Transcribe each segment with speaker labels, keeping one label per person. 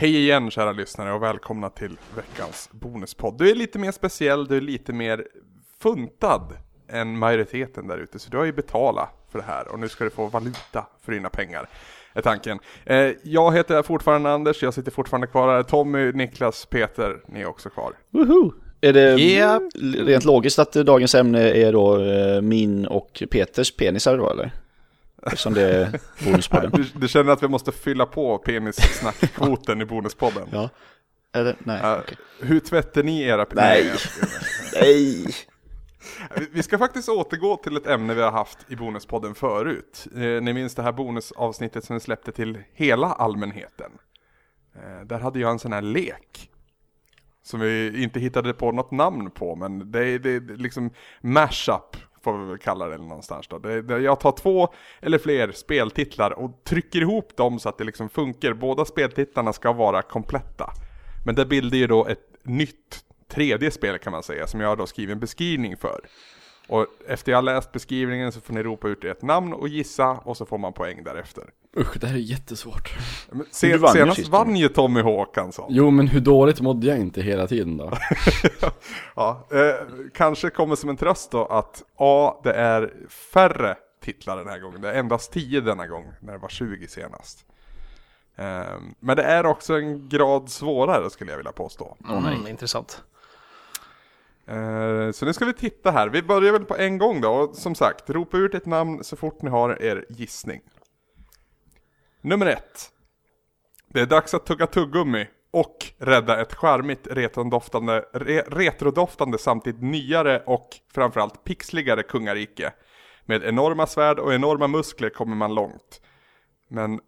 Speaker 1: Hej igen kära lyssnare och välkomna till veckans bonuspodd. Du är lite mer speciell, du är lite mer funtad än majoriteten där ute. Så du har ju betala för det här och nu ska du få valuta för dina pengar. Är tanken. Eh, jag heter fortfarande Anders, jag sitter fortfarande kvar här. Tommy, Niklas, Peter, ni är också kvar.
Speaker 2: Woho! Är det
Speaker 3: Yep.
Speaker 2: rent logiskt att dagens ämne är då eh, min och Peters penisar då eller? Eftersom det är bonuspodden.
Speaker 1: Du, du känner att vi måste fylla på penissnackkvoten i bonuspodden?
Speaker 2: ja. Eller? Nej.
Speaker 1: Eh,
Speaker 2: okej.
Speaker 1: hur tvättar ni era
Speaker 2: Nej.
Speaker 1: Nej,
Speaker 2: Nej.
Speaker 1: Vi- Vi ska faktiskt återgå till ett ämne vi har haft i Bonuspodden förut. Eh, ni minns det här bonusavsnittet som vi släppte till hela allmänheten. Eh, där hade jag en sån här lek. Som vi inte hittade på något namn på, men det är, det är liksom mashup får vi väl kalla det någonstans då. Det, det, jag tar två eller fler speltitlar och trycker ihop dem så att det liksom funkar. Båda speltitlarna ska vara kompletta. Men det bildar ju då ett nytt tredje spel kan man säga, som jag då skriver en beskrivning för. Och efter jag har läst beskrivningen så får ni ropa ut ert namn och gissa och så får man poäng därefter.
Speaker 3: Usch, det här är jättesvårt.
Speaker 1: Men Se,
Speaker 2: Du vann ju
Speaker 1: senast
Speaker 2: sist,
Speaker 1: vann ju Tommy Håkansson.
Speaker 3: Jo, men hur dåligt mådde jag inte hela tiden då?
Speaker 1: Ja, eh, kanske kommer som en tröst då att A, det är färre titlar den här gången. Det är endast 10 denna gång, när det var 20 senast. Ehm, men det är också en grad svårare skulle jag vilja påstå.
Speaker 4: Mm, intressant.
Speaker 1: Eh, Så nu ska vi titta här. Vi börjar väl på en gång då. Och som sagt, ropa ut ett namn så fort ni har er gissning. Nummer ett. Det är dags att tugga tuggummi och rädda ett charmigt retrodoftande, re, retrodoftande samtidigt nyare och framförallt pixligare kungarike. Med enorma svärd och enorma muskler kommer man långt. Men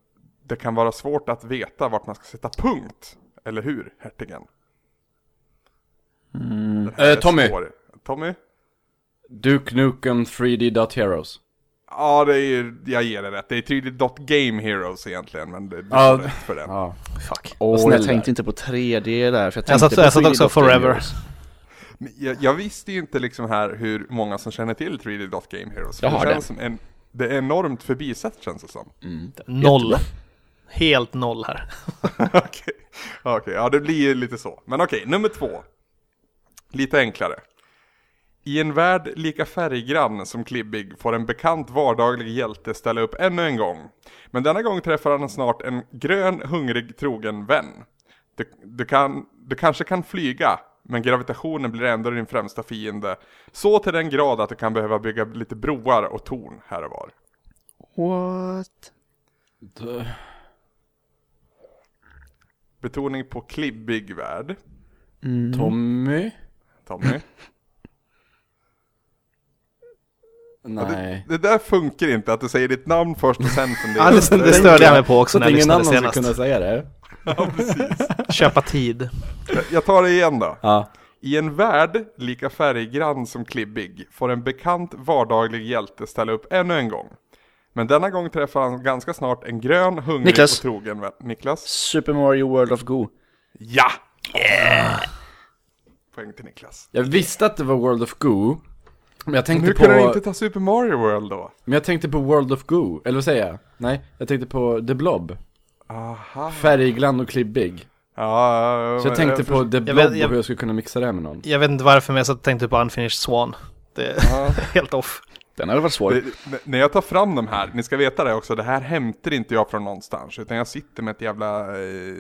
Speaker 1: det kan vara svårt att veta vart man ska sätta punkt. Eller hur, hertigen? Den här
Speaker 3: Eh,
Speaker 1: är
Speaker 3: Tommy.
Speaker 1: svår. Tommy?
Speaker 3: Duke Nukem 3D Dot Heroes.
Speaker 1: Ja, det är ju, jag ger det rätt. Det är tydligt dot Game Heroes egentligen, men det, du
Speaker 3: Ja,
Speaker 1: får
Speaker 3: det-
Speaker 1: rätt för den.
Speaker 3: Ja.
Speaker 4: Fuck.
Speaker 2: Fast
Speaker 3: Åh,
Speaker 2: jag tänkte inte på 3D där. För jag,
Speaker 4: Jag
Speaker 2: tänkte
Speaker 4: satt-
Speaker 2: på
Speaker 4: jag satt också
Speaker 2: 3D
Speaker 4: forever.
Speaker 2: Heroes.
Speaker 1: Men Jag, jag visste ju inte liksom här hur många som känner till 3D dot Game Heroes. för
Speaker 2: Jag har
Speaker 1: det känns som en, det är enormt förbisett känns det som.
Speaker 4: Noll. Helt noll här.
Speaker 1: okej, Okej, ja det blir ju lite så. Men okej, nummer två. Lite enklare. I en värld lika färggrann som klibbig får en bekant vardaglig hjälte ställa upp ännu en gång. Men denna gång träffar han snart en grön, hungrig, trogen vän. Du, du, kan, du kanske kan flyga, men gravitationen blir ändå din främsta fiende. Så till den grad att du kan behöva bygga lite broar och torn här och var.
Speaker 2: What?
Speaker 3: d-
Speaker 1: Betoning på klibbig värld,
Speaker 3: Tommy?
Speaker 1: Tommy.
Speaker 3: Nej.
Speaker 1: Det där funkar inte, att du säger ditt namn först och sen
Speaker 4: Ja,
Speaker 1: funderar.
Speaker 3: Alltså-
Speaker 4: det, det störde jag mig på också
Speaker 3: Så
Speaker 4: när
Speaker 3: att
Speaker 4: jag
Speaker 3: ingen
Speaker 4: lyssnade
Speaker 3: annan skulle
Speaker 4: senast.
Speaker 3: kunna säga det?
Speaker 4: Köpa tid.
Speaker 1: Jag tar det igen då.
Speaker 3: Ja.
Speaker 1: I en värld lika färggrann som klibbig får en bekant vardaglig hjälte ställa upp ännu en gång. Men denna gång träffar han ganska snart en grön, hungrig
Speaker 2: Niklas.
Speaker 1: och trogen vän. Niklas?
Speaker 2: Super Mario World of Goo.
Speaker 1: Ja! Ah. Poäng till Niklas.
Speaker 3: Jag visste att det var World of Goo. Men jag
Speaker 1: Men hur
Speaker 3: tänkte
Speaker 1: kunde du inte
Speaker 3: på...
Speaker 1: ta Super Mario World då?
Speaker 3: Men jag tänkte på World of Goo. Eller vad säger jag? Nej, jag tänkte på The Blob.
Speaker 1: Aha.
Speaker 3: Färgglann och klibbig.
Speaker 1: Ja,
Speaker 3: Så jag
Speaker 1: men-
Speaker 3: tänkte på The
Speaker 4: jag
Speaker 3: Blob
Speaker 4: vet-
Speaker 3: och
Speaker 4: jag-
Speaker 3: hur jag skulle kunna mixa det här med någon.
Speaker 4: Jag vet inte varför men jag satt och tänkte på Unfinished Swan. Det är
Speaker 1: Ja.
Speaker 4: helt off.
Speaker 2: Den hade varit svår.
Speaker 1: Det, n- när jag tar fram de här, ni ska veta det också, det här hämtar inte jag från någonstans, utan jag sitter med ett jävla eh,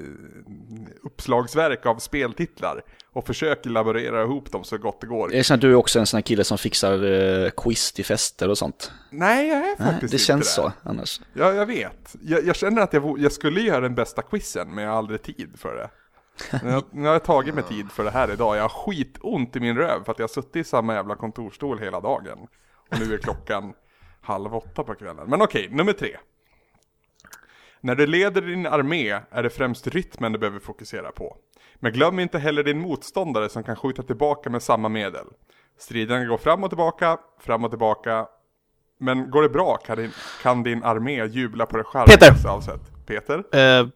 Speaker 1: uppslagsverk av speltitlar och försöker laborera ihop dem så gott det går.
Speaker 2: Erkänn att du är också en sån här kille som fixar eh, quiz till fester och sånt.
Speaker 1: Nej, jag är
Speaker 2: Nej,
Speaker 1: faktiskt
Speaker 2: eh, det
Speaker 1: inte
Speaker 2: känns
Speaker 1: det.
Speaker 2: så annars.
Speaker 1: Ja, jag vet. Jag, jag känner att jag, vo- jag skulle göra den bästa quizen, men jag har aldrig tid för det. Nu har- Nu har jag tagit mig tid för det här idag. Jag har skitont i min röv för att jag har suttit i samma jävla kontorstol hela dagen. Och nu är klockan halv åtta på kvällen. Men okej, nummer tre. När du leder din armé är det främst rytmen du behöver fokusera på. Men glöm inte heller din motståndare som kan skjuta tillbaka med samma medel. Striden går fram och tillbaka, fram och tillbaka. Men går det bra kan din, kan din armé jubla på det charmigaste avsätt. Peter?
Speaker 4: Eh,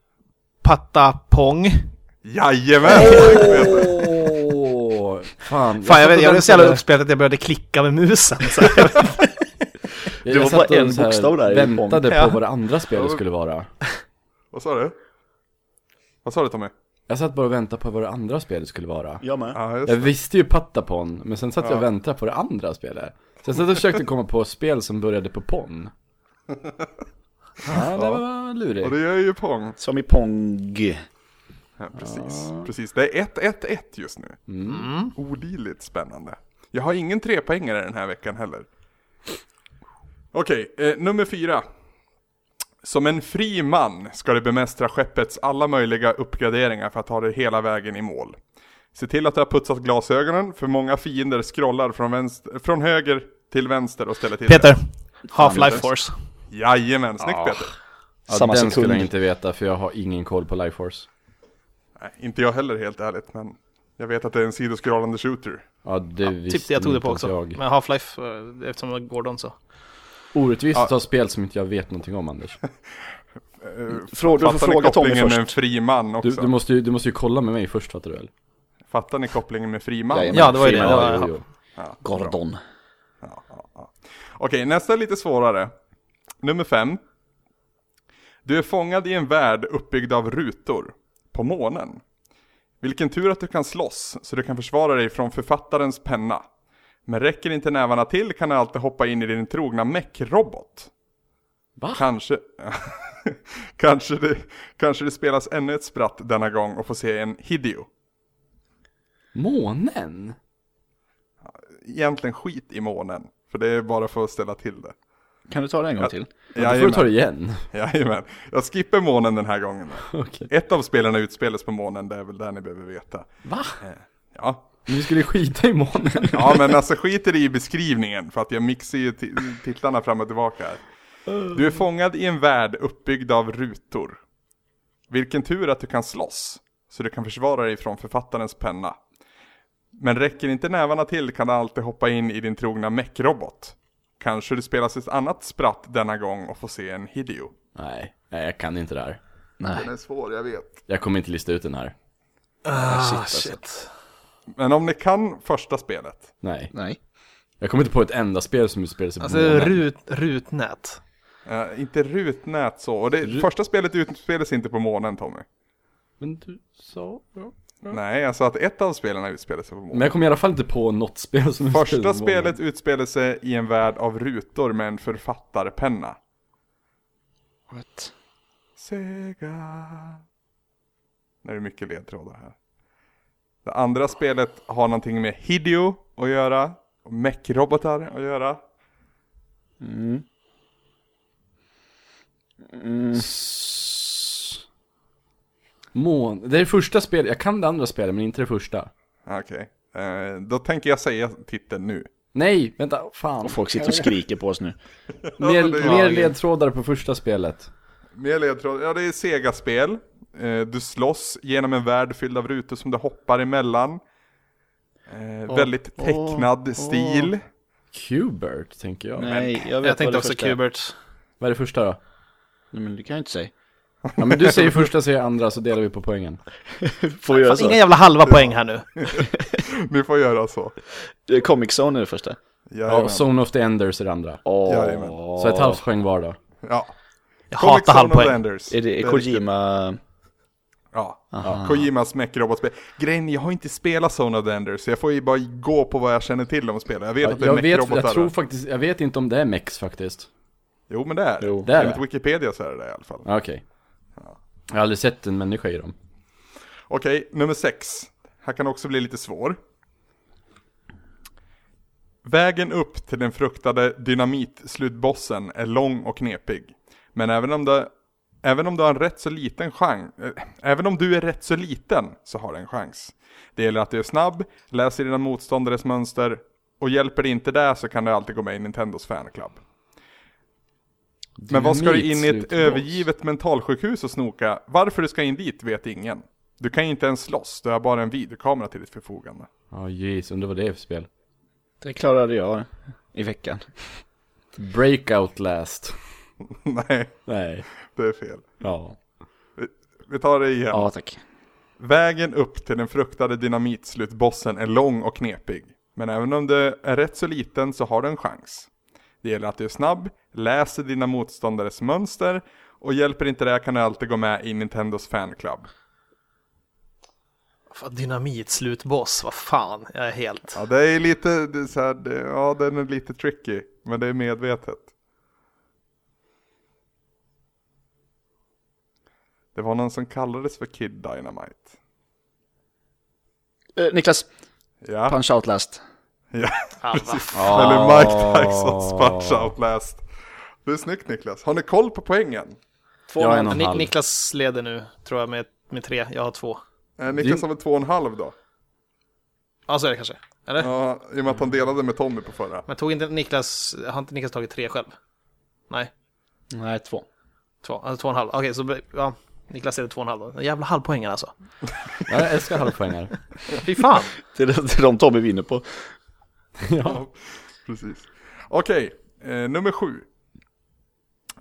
Speaker 4: Patta Pong.
Speaker 1: Jajamän!
Speaker 3: Åh, fan.
Speaker 4: Fan jag,
Speaker 3: satt
Speaker 4: vet,
Speaker 3: och
Speaker 4: jag blev så jävla
Speaker 3: väntade.
Speaker 4: uppspelad att jag började klicka med musen. Så här.
Speaker 3: Jag-
Speaker 2: Det
Speaker 3: jag
Speaker 2: var
Speaker 3: satt
Speaker 2: bara
Speaker 3: och
Speaker 2: en
Speaker 3: så här
Speaker 2: bokstav där i
Speaker 3: Väntade
Speaker 2: Pong.
Speaker 3: på
Speaker 4: Ja.
Speaker 3: vad det andra spelet skulle vara.
Speaker 1: Vad sa du? Vad sa du Tommy?
Speaker 3: Jag satt bara och väntade på vad det andra spelet skulle vara.
Speaker 2: Jag med.
Speaker 1: Ja, just
Speaker 3: Jag
Speaker 1: det.
Speaker 3: visste ju Patapon, men sen satt jag och väntade på det andra spelet. Så jag satt och försökte komma på spel som började på Pon. Ja, det var lurigt.
Speaker 1: Och det gör ju Pong.
Speaker 2: Som i Pong.
Speaker 1: Ja, Mm. precis. precis. Det är 1-1-1 just nu. Olidligt spännande. Jag har ingen trepoängare den här veckan heller. Okej, eh, nummer fyra. Som en fri man ska du bemästra skeppets alla möjliga uppgraderingar för att ta dig hela vägen i mål. Se till att du har putsat glasögonen, för många fiender scrollar från, vänster, från höger till vänster och ställer till det.
Speaker 4: Peter, Half-Life Force.
Speaker 1: Jajamän, snyggt Peter!
Speaker 3: Ja,
Speaker 2: Samma
Speaker 3: den
Speaker 2: sekund.
Speaker 3: skulle jag inte veta, för jag har ingen koll på Life Force.
Speaker 1: Nej, inte jag heller helt ärligt, men jag vet att det är en sidoskrollande shooter.
Speaker 3: Ja, det visste
Speaker 4: Typ det jag tog det
Speaker 3: inte
Speaker 4: på
Speaker 3: ens
Speaker 4: också.
Speaker 3: Jag.
Speaker 4: Men Half-Life, eh, eftersom det var Gordon så.
Speaker 3: Orättvist att ta spel som inte jag vet någonting om, Anders.
Speaker 2: Frå, du
Speaker 1: Fattar
Speaker 2: får
Speaker 1: ni
Speaker 2: fråga Tommy
Speaker 1: kopplingen med en
Speaker 2: först.
Speaker 1: fri man också?
Speaker 3: Du, du, måste ju, du måste ju kolla med mig först, fattar du väl?
Speaker 1: Fattar ni kopplingen med fri man?
Speaker 2: Jajamän.
Speaker 4: Ja, det var ju det.
Speaker 2: Fina,
Speaker 4: det var,
Speaker 3: jo, jo.
Speaker 2: Gordon.
Speaker 1: Okej, nästa är lite svårare. Nummer fem. Du är fångad i en värld uppbyggd av rutor. På månen. Vilken tur att du kan slåss, så du kan försvara dig från författarens penna. Men räcker inte nävarna till kan du alltid hoppa in i din trogna mech-robot.
Speaker 3: Va?
Speaker 1: Kanske... kanske, det, kanske det spelas ännu ett spratt denna gång och får se en Hideo.
Speaker 3: Månen?
Speaker 1: Egentligen skit i månen, för det är bara för att ställa till det.
Speaker 2: Kan du ta det en gång till?
Speaker 3: Ja, då får du ta det igen.
Speaker 1: Jajamän, jag skippar månen den här gången.
Speaker 3: Okej.
Speaker 1: Ett av spelarna utspelas på månen, det är väl där ni behöver veta. Eh,
Speaker 3: Va?
Speaker 1: Ja,
Speaker 3: Men Vi skulle skita i månen.
Speaker 1: ja men alltså skiter i beskrivningen för att jag mixar ju ti- titlarna fram och tillbaka här. Du är fångad i en värld uppbyggd av rutor. Vilken tur att du kan slåss, så du kan försvara dig från författarens penna. Men räcker inte nävarna till kan du alltid hoppa in i din trogna mech-robot. Kanske du spelas ett annat spratt denna gång och får se en Hideo.
Speaker 3: Nej, nej, jag kan inte det här.
Speaker 1: Den är svår, jag vet.
Speaker 3: Jag kommer inte lista ut den här.
Speaker 4: Ah, shit.
Speaker 1: Men om ni kan första spelet.
Speaker 3: Nej.
Speaker 2: Nej.
Speaker 3: Jag kommer inte på ett enda spel som utspelar sig på
Speaker 4: Alltså,
Speaker 3: månen.
Speaker 4: rut, rutnät.
Speaker 1: Eh, inte rutnät så. Och det, Första spelet utspelas inte på månen Tommy.
Speaker 3: Men du sa... Ja.
Speaker 1: Nej, alltså att ett av spelen utspelar sig på månen.
Speaker 3: Men jag kommer i alla fall inte på något spel som utspelar sig på
Speaker 1: Första
Speaker 3: månen.
Speaker 1: spelet utspelar sig i en värld av rutor med en författarpenna.
Speaker 2: What?
Speaker 1: Sega. Nu är det mycket ledtrådar här. Det andra spelet har någonting med Hideo att göra. Och mech-robotar att göra.
Speaker 3: S- Mån... Det är det första spelet, jag kan det andra spelet men inte det första.
Speaker 1: Okej. Eh, då tänker jag säga titeln nu.
Speaker 3: Nej, vänta, fan.
Speaker 2: Folk sitter och skriker på oss nu.
Speaker 3: Mer,
Speaker 1: men det är-
Speaker 3: mer ledtrådar på första spelet.
Speaker 1: Mer ledtråd. Ja, det är Sega-spel. Eh, du slåss genom en värld fylld av rutor som du hoppar emellan. Eh, väldigt tecknad stil.
Speaker 3: Qbert, tänker jag.
Speaker 2: Nej, jag vet
Speaker 4: Jag
Speaker 2: vad
Speaker 4: tänkte
Speaker 2: det
Speaker 4: också
Speaker 2: första är.
Speaker 4: Kubert.
Speaker 3: Vad är det första då?
Speaker 2: Nej, men du kan ju inte säga.
Speaker 3: Ja, men du säger första, säger andra, så delar vi på poängen.
Speaker 2: Får vi göra
Speaker 4: Fan,
Speaker 2: så?
Speaker 4: inga jävla halva poäng här nu.
Speaker 1: Ni får göra så.
Speaker 2: Det är Comic Zone är det första.
Speaker 3: Ja,
Speaker 1: Jajamän.
Speaker 3: och Zone of the Enders är det andra.
Speaker 2: Åh,
Speaker 1: Jajamän.
Speaker 3: Så ett halvt poäng var då.
Speaker 1: Ja.
Speaker 4: Jag
Speaker 1: Comic
Speaker 4: hatar
Speaker 1: Zone of
Speaker 4: halvpoäng.
Speaker 1: Landers.
Speaker 2: är det
Speaker 1: är riktigt.
Speaker 2: Kojima?
Speaker 1: Ja. ja. Kojimas mech-robotspel. Grejen jag har inte spelat Zone of the Enders, så jag får ju bara gå på vad jag känner till om spelet. Jag vet att det är
Speaker 3: Jag vet,
Speaker 1: mech-robotar.
Speaker 3: jag tror faktiskt, jag vet inte om det är Mex faktiskt.
Speaker 1: Jo, men det är
Speaker 2: Jo.
Speaker 1: det.
Speaker 3: Det är
Speaker 1: Enligt
Speaker 3: det.
Speaker 1: Wikipedia så är det det i alla fall.
Speaker 3: Ja, Okej. Jag har aldrig sett en människa i dem.
Speaker 1: Okej, nummer sex. Här kan också bli lite svår. Vägen upp till den fruktade dynamitslutbossen är lång och knepig. Men även om, det, även om du har en rätt så liten chans, eh, även om du är rätt så liten så har du en chans. Det gäller att du är snabb, läser dina motståndares mönster och hjälper det inte där så kan du alltid gå med i Nintendos fanclub. Men vad ska du in i ett
Speaker 3: Dynamitslut-
Speaker 1: övergivet mentalsjukhus och snoka? Varför du ska in dit vet ingen. Du kan inte ens slåss, du har bara en videokamera till ditt förfogande.
Speaker 3: Ja, jeez, undrar vad det är för spel.
Speaker 2: Det klarade jag i veckan.
Speaker 3: Breakout last.
Speaker 1: Nej,
Speaker 3: Nej.
Speaker 1: det är fel.
Speaker 3: Ja.
Speaker 1: Vi tar det igen.
Speaker 2: Ja, tack.
Speaker 1: Vägen upp till den fruktade dynamitslutbossen är lång och knepig. Men även om du är rätt så liten så har du en chans. Det gäller att du är snabb, läser dina motståndares mönster och hjälper inte det kan du alltid gå med i Nintendos fanclub.
Speaker 4: Fan, dynamitslutboss, vad fan. Jag är helt...
Speaker 1: Ja, det är lite det är så här, det, ja den är lite tricky, men det är medvetet. Det var någon som kallades för Kid Dynamite.
Speaker 2: Eh, Niklas,
Speaker 1: Ja,
Speaker 2: punch out last.
Speaker 1: ja.
Speaker 4: Ja, vad fan.
Speaker 1: Eller Mike Tysons punch out last. Det är snyggt Niklas. Har ni koll på poängen?
Speaker 2: Två
Speaker 3: Jag är
Speaker 2: man.
Speaker 3: någon-
Speaker 4: Ni,
Speaker 3: halv.
Speaker 4: Niklas leder nu, tror jag, med, med tre. Jag har två.
Speaker 1: Eh, Niklas har väl två och en halv då?
Speaker 4: Ja, så är det kanske. Eller?
Speaker 1: Ja, i och med att han delade med Tommy på förra.
Speaker 4: Men tog inte Niklas... Har inte Niklas tagit tre själv? Nej,
Speaker 2: Nej, två.
Speaker 4: två. Alltså två och en halv. Okej, så... blir- Ja. Niklas leder två och en halv då. Den Jävla halvpoängen alltså.
Speaker 3: Ja, jag älskar halvpoängar.
Speaker 4: Fy fan.
Speaker 2: Det är, det är de Tommy vinner på.
Speaker 1: Ja, precis. Okej, eh, nummer sju.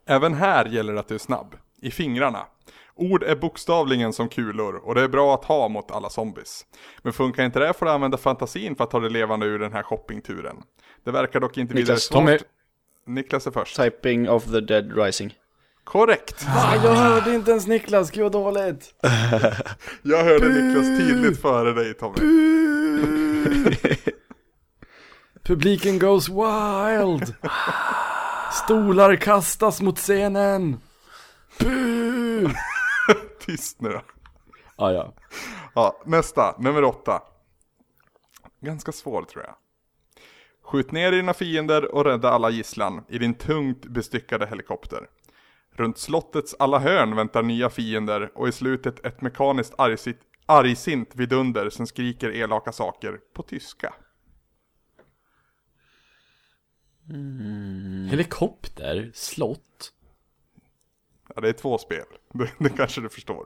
Speaker 1: Även här gäller att du är snabb. I fingrarna. Ord är bokstavligen som kulor och det är bra att ha mot alla zombies. Men funkar inte det får du använda fantasin för att ta dig levande ur den här shoppingturen. Det verkar dock inte vidare
Speaker 2: Niklas,
Speaker 1: svårt.
Speaker 3: Tommy.
Speaker 1: Niklas är först.
Speaker 2: Typing of the dead rising.
Speaker 1: Korrekt!
Speaker 3: Ah, jag hörde inte ens Niklas, gud vad dåligt.
Speaker 1: Jag hörde Niklas tydligt före dig Tommy.
Speaker 3: Publiken goes wild. Stolar kastas mot scenen. Bu!
Speaker 1: Tyst nu då.
Speaker 3: Ah, ja.
Speaker 1: Ja, nästa, nummer åtta. Ganska svår tror jag. Skjut ner dina fiender och rädda alla gisslan i din tungt bestyckade helikopter. Runt slottets alla hörn väntar nya fiender och i slutet ett mekaniskt argsint, argsint vidunder som skriker elaka saker på tyska.
Speaker 3: Helikopter, slott.
Speaker 1: Ja, det är två spel. Det, det kanske du förstår.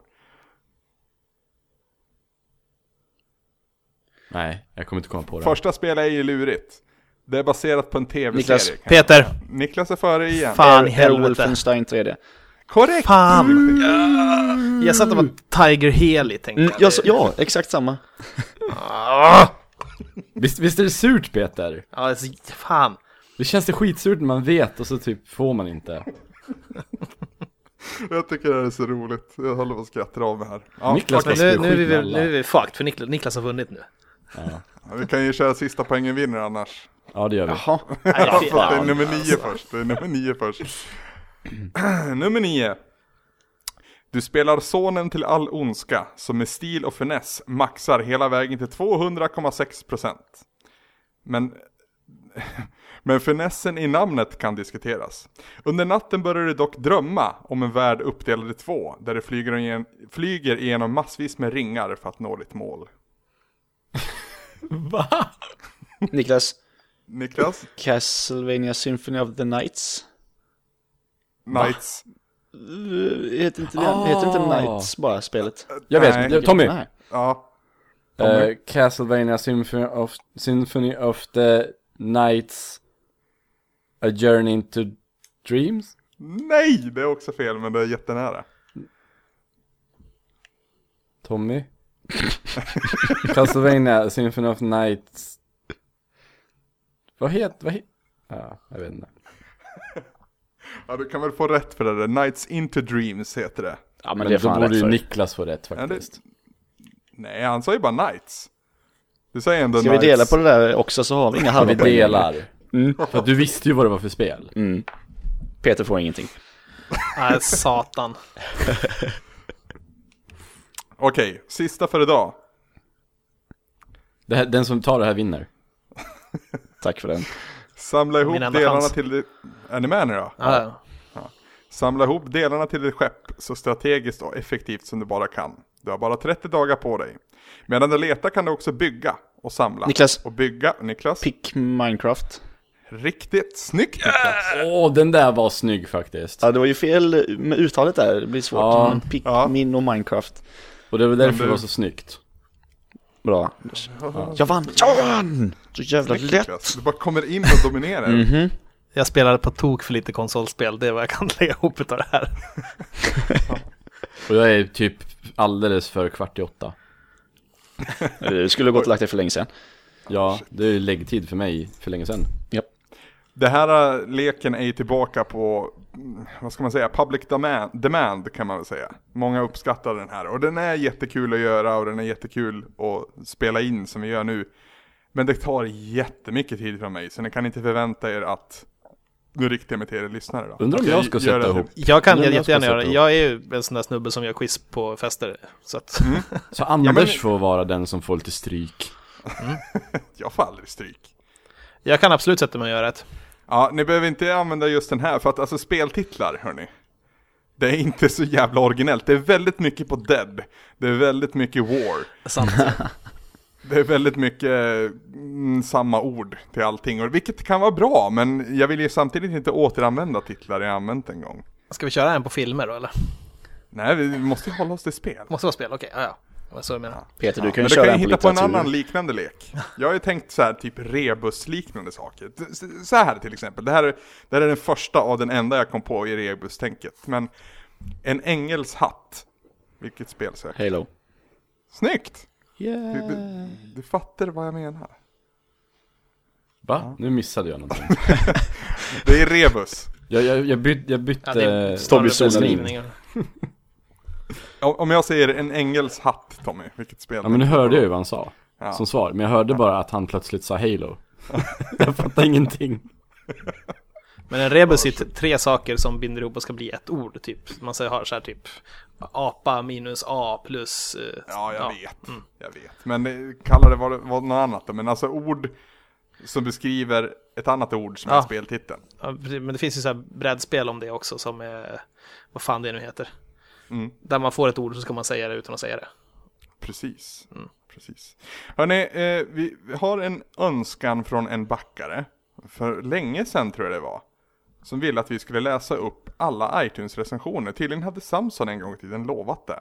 Speaker 3: Nej, jag kommer inte komma på det.
Speaker 1: Första spelet är ju lurigt. Det är baserat på en tv-serie.
Speaker 2: Niklas.
Speaker 1: kan jag-
Speaker 4: Peter.
Speaker 1: Niklas är före igen.
Speaker 4: Fan i
Speaker 2: Herr
Speaker 4: helvete.
Speaker 2: Wolfenstein 3D.
Speaker 1: Korrekt!
Speaker 4: Fan. Jag satt och var Tiger Heli tänkte
Speaker 2: Mm, jag, sa- ja, exakt samma.
Speaker 4: Ah!
Speaker 3: Visst, visst är det surt Peter?
Speaker 4: Ja, alltså, fan.
Speaker 3: Det känns det skitsurt när man vet och så typ får man inte.
Speaker 1: Jag tycker det här är så roligt. Jag håller på att skratta av mig här. Ja,
Speaker 3: Niklas
Speaker 4: Martin,
Speaker 3: måste
Speaker 4: nu,
Speaker 3: ju
Speaker 4: nu, är vi,
Speaker 3: skitnalla.
Speaker 4: väl- nu är vi fucked, för Niklas, Niklas har vunnit nu.
Speaker 1: vi kan ju köra sista poängen vinner annars.
Speaker 3: Ja det gör vi.
Speaker 2: Jaha.
Speaker 4: Nej,
Speaker 1: Ja, för att det är
Speaker 4: fan.
Speaker 2: alltså.
Speaker 1: nummer nio först. Det är nummer nio först. nummer nio. Du spelar sonen till all ondska som med stil och finess maxar hela vägen till 200,6%. Men, men finessen i namnet kan diskuteras. Under natten börjar du dock drömma om en värld uppdelad i två där du flyger, igen, flyger genom massvis med ringar för att nå ditt mål.
Speaker 3: Va?
Speaker 2: Niklas,
Speaker 1: Niklas?
Speaker 2: Castlevania Symphony of the Nights.
Speaker 1: Knights?
Speaker 2: Eh, Heter inte, det, heter inte
Speaker 3: Ah.
Speaker 2: Nights bara spelet?
Speaker 3: Jag vet,
Speaker 1: Nej.
Speaker 3: jag- Tommy.
Speaker 2: Nej.
Speaker 1: Ja.
Speaker 3: Eh, Castlevania Symphony of, Symphony of the Nights A Journey into Dreams?
Speaker 1: Nej, det är också fel men det är jättenära.
Speaker 3: Tommy? Castlevania Symphony of Nights Vad heter, vad heter? Ja, jag vet inte.
Speaker 1: Ja, du kan väl få rätt för det där. Nights into dreams heter det.
Speaker 2: Ja, men,
Speaker 3: Men
Speaker 2: det är
Speaker 3: då
Speaker 2: fan
Speaker 3: borde
Speaker 2: rätt
Speaker 3: ju
Speaker 2: för.
Speaker 3: Niklas få rätt faktiskt.
Speaker 1: Nej, han sa ju bara nights. Du säger ändå
Speaker 2: Ska vi
Speaker 1: nights.
Speaker 2: dela på det där också så har vi inga
Speaker 3: Ja, vi
Speaker 2: halva poäng.
Speaker 3: delar. För att du visste ju vad det var för spel.
Speaker 2: Mm. Peter får ingenting.
Speaker 4: Nej, satan.
Speaker 1: Okej, sista för idag.
Speaker 3: Det här, den som tar det här vinner.
Speaker 2: Tack för den.
Speaker 1: Samla ihop
Speaker 4: Min enda
Speaker 1: delarna
Speaker 4: chans.
Speaker 1: till ditt... Är ni med nu då?
Speaker 4: Ja, ja.
Speaker 1: Samla ihop delarna till ditt skepp så strategiskt och effektivt som du bara kan. Du har bara 30 dagar på dig. Medan du letar kan du också bygga och samla.
Speaker 2: Niklas.
Speaker 1: Och bygga, Niklas.
Speaker 2: Pick Minecraft.
Speaker 1: Riktigt snyggt Niklas.
Speaker 3: Åh, den där var snygg faktiskt.
Speaker 2: Ja, det var ju fel med uttalet där. Det blir svårt.
Speaker 3: Ja.
Speaker 2: Men Pikmin och Minecraft.
Speaker 3: Och det var därför
Speaker 1: du-
Speaker 3: det var så snyggt.
Speaker 2: Bra. Jag vann! Jag vann! Så jävla
Speaker 1: Snyggt,
Speaker 2: lätt.
Speaker 1: Niklas. Du bara kommer in och dominerar.
Speaker 4: Jag spelade på tok för lite konsolspel, det är vad jag kan lägga ihop utav det här.
Speaker 3: Och jag är typ alldeles för kvart i åtta.
Speaker 2: Eh, Det skulle gått och lagt det för länge sedan.
Speaker 3: Ja, det är ju läggtid för mig för länge sedan.
Speaker 2: Japp.
Speaker 1: Det här eh, leken är ju tillbaka på, mm, vad ska man säga, public demand, demand kan man väl säga. Många uppskattar den här och den är jättekul att göra och den är jättekul att spela in som vi gör nu. Men det tar jättemycket tid från mig så ni kan inte förvänta er att nu riktar jag mig till er lyssnare då.
Speaker 3: Undrar om
Speaker 1: Att
Speaker 3: jag ska
Speaker 1: gör
Speaker 3: sätta
Speaker 1: det-
Speaker 3: ihop.
Speaker 4: Jag kan
Speaker 3: Men
Speaker 4: jag
Speaker 3: jag ska
Speaker 4: jättegärna göra
Speaker 3: sätta
Speaker 4: det.
Speaker 3: upp. Mm.
Speaker 4: Jag är ju en sån där snubbe som gör quiz på fester. Så att,
Speaker 3: Så Anders
Speaker 1: men-
Speaker 3: får vara den som får lite stryk.
Speaker 1: Jag får aldrig stryk.
Speaker 4: jag kan absolut sätta mig och göra ett.
Speaker 1: Ja, ni behöver inte använda just den här för att alltså speltitlar, hörni. Det är inte så jävla originellt. Det är väldigt mycket på Dead. Det är väldigt mycket War.
Speaker 4: Sant.
Speaker 1: Det är väldigt mycket mm, samma ord till allting, och vilket kan vara bra, men jag vill ju samtidigt inte återanvända titlar jag använt en gång.
Speaker 4: Ska vi köra en på filmer då eller?
Speaker 1: Nej, vi måste ju hålla oss till spel.
Speaker 4: Måste vara spel, okej. ja, ja. Det var så jag menar.
Speaker 2: Peter, du kan
Speaker 1: Men
Speaker 2: ju
Speaker 1: du kan
Speaker 2: köra
Speaker 1: ju
Speaker 2: en på
Speaker 1: hitta på en
Speaker 2: litteratur.
Speaker 1: annan liknande lek. Jag har ju tänkt så här, typ rebus-liknande saker. S- Så här till exempel, det här, är- det här är den första av den enda jag kom på i rebus-tänket. Men en ängels hatt, vilket spel söker?
Speaker 2: Halo.
Speaker 1: Snyggt! Du,
Speaker 2: Yeah.
Speaker 1: du, du fattar vad jag menar.
Speaker 3: Va? Nu missade jag någonting.
Speaker 1: Det är rebus.
Speaker 3: Jag, jag, jag, byt, jag bytte...
Speaker 4: Ja, det är
Speaker 2: Tommy
Speaker 4: större
Speaker 2: Solin.
Speaker 4: beskrivningar.
Speaker 1: Om om jag säger en ängels hatt, Tommy, vilket spel?
Speaker 3: Ja men nu
Speaker 1: tänker du
Speaker 3: hörde
Speaker 1: på?
Speaker 3: jag ju vad han sa
Speaker 1: Ja.
Speaker 3: som svar, men jag hörde bara att han plötsligt sa Halo. jag fattar ingenting.
Speaker 4: Men en rebus är t- tre saker som binder ihop och ska bli ett ord typ. Man säger har så här typ apa minus a plus... eh,
Speaker 1: Ja, jag vet. Jag vet. Men eh, kalla det vad, vad något annat då. Men alltså ord som beskriver ett annat ord som är
Speaker 4: Ja.
Speaker 1: speltiteln.
Speaker 4: Ja, precis. men det finns ju så här brädspel om det också som är, vad fan det nu heter.
Speaker 1: Mm.
Speaker 4: Där man får ett ord så ska man säga det utan att säga det.
Speaker 1: Precis. Precis. Hörrni, eh, vi vi har en önskan från en backare. För länge sedan tror jag det var. Som ville att vi skulle läsa upp alla iTunes-recensioner. Tydligen hade Samson en gång i tiden lovat det.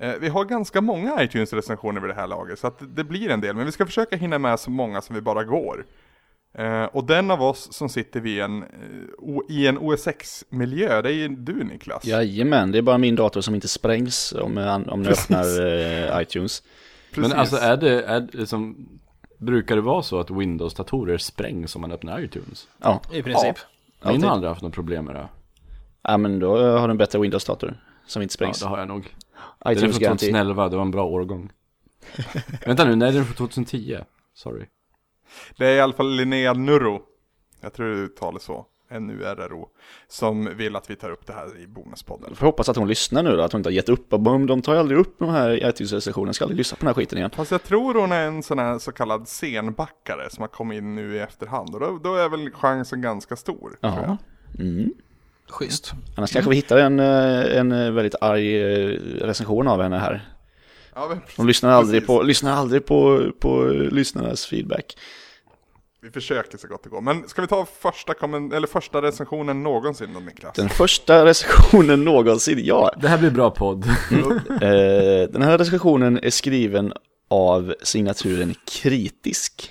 Speaker 1: Eh, vi har ganska många iTunes-recensioner vid det här laget. Så att det- det blir en del. Men vi ska försöka hinna med så många som vi bara går. Eh, och den av oss som sitter vid en, eh, o- i en OSX-miljö, det är ju du Niklas.
Speaker 2: Jajamän, det är bara min dator som inte sprängs om, eh, om ni öppnar eh, iTunes.
Speaker 1: Precis.
Speaker 3: Men alltså är det, är det som, brukar det vara så att Windows-datorer sprängs om man öppnar iTunes?
Speaker 2: Ja,
Speaker 4: I princip.
Speaker 3: Min
Speaker 2: Alltid.
Speaker 3: har aldrig haft några problem med det.
Speaker 2: ja men då eh, har du en bättre Windows-dator som inte
Speaker 3: Ja,
Speaker 2: sprängs.
Speaker 3: det har jag nog. Det är från
Speaker 2: iTunes-garanti.
Speaker 3: 2011, det var en bra årgång. Vänta nu, nej den är från 2010. Sorry.
Speaker 1: Det är i alla fall Linnea Nurro, jag tror det uttalas så, N-U-R-R-O, som vill att vi tar upp det här i Bonuspodden.
Speaker 2: Jag får hoppas att hon lyssnar nu då, att hon inte har gett upp. Och bum, de tar ju aldrig upp de här iTunes-recensionerna, ska aldrig lyssna på den här skiten igen.
Speaker 1: Fast jag tror hon är en sån här så kallad senbackare som har kommit in nu i efterhand och då, då är väl chansen ganska stor. tror jag.
Speaker 2: Ja. Mm.
Speaker 4: Schysst.
Speaker 2: Annars kanske vi hittar en, eh, en eh, väldigt arg eh, recension av henne här.
Speaker 1: Ja, men precis.
Speaker 2: De lyssnar aldrig,
Speaker 1: Precis.
Speaker 2: på, lyssnar aldrig på, på eh, lyssnarnas feedback.
Speaker 1: Vi försöker så gott det går. Men ska vi ta första, kommen- eller första recensionen någonsin då Niklas?
Speaker 2: Den första recensionen någonsin, ja.
Speaker 3: Det här blir bra podd.
Speaker 2: Eh, Den här recensionen är skriven av signaturen Kritisk.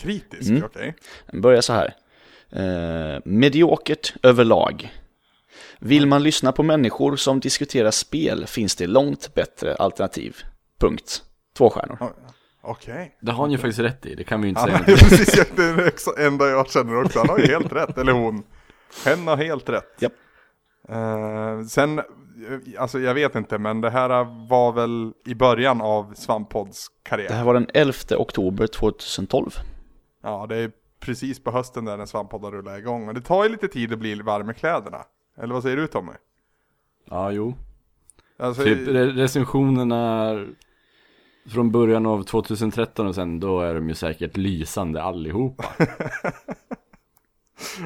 Speaker 1: Kritisk, okej.
Speaker 2: Den börjar så här. Eh, mediokert överlag. Vill man lyssna på människor som diskuterar spel finns det långt bättre alternativ. Punkt. Två stjärnor.
Speaker 1: Okej.
Speaker 3: Det har han ju faktiskt rätt i, det kan vi ju inte säga.
Speaker 1: Ja, precis, jag- det är det exa- enda jag känner också. Han har ju helt rätt, eller hon. Hen har helt rätt.
Speaker 2: Japp.
Speaker 1: Eh, sen, eh, alltså jag vet inte, men det här var väl i början av Svampodds
Speaker 2: Det
Speaker 1: karriär.
Speaker 2: här var den 11 oktober 2012.
Speaker 1: Ja, det är precis på hösten där när Svamppodden rullar igång. Och det tar ju lite tid att bli varm i kläderna. Eller vad säger du Tommy?
Speaker 3: Ja, jo.
Speaker 1: Alltså,
Speaker 3: Typ re- recensionerna från början av 2013 och sen, då är de ju säkert lysande allihopa.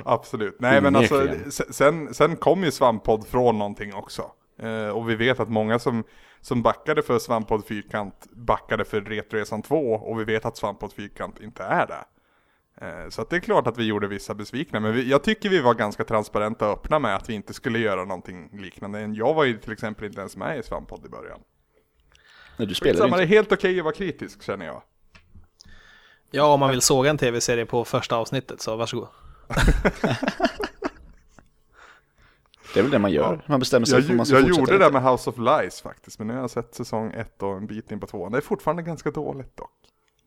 Speaker 1: Absolut. Nej men alltså,
Speaker 3: Onekligen.
Speaker 1: se- sen, sen kom ju Svamppodd från någonting också. Eh, och vi vet att många som, som backade för Svamppodd Fyrkant backade för Retroresan 2 och vi vet att Svamppodd Fyrkant inte är det. Eh, så att det är klart att vi gjorde vissa besvikna, men vi, jag tycker vi var ganska transparenta och öppna med att vi inte skulle göra någonting liknande. Jag var ju till exempel inte ens med i Svamppodd i början.
Speaker 2: Nej, du spelar ju
Speaker 1: Skitsamma, det
Speaker 2: inte.
Speaker 1: är helt okej att vara kritisk känner jag.
Speaker 4: Ja, om man vill såga en tv-serie på första avsnittet så varsågod.
Speaker 2: Det är väl det man gör. Man bestämmer sig
Speaker 1: Jag,
Speaker 2: för om man
Speaker 1: ju-
Speaker 2: ska
Speaker 1: jag
Speaker 2: fortsätta.
Speaker 1: gjorde det med House of Lies faktiskt, men nu har jag sett säsong 1 och en bit in på tvåan. Det är fortfarande ganska dåligt dock.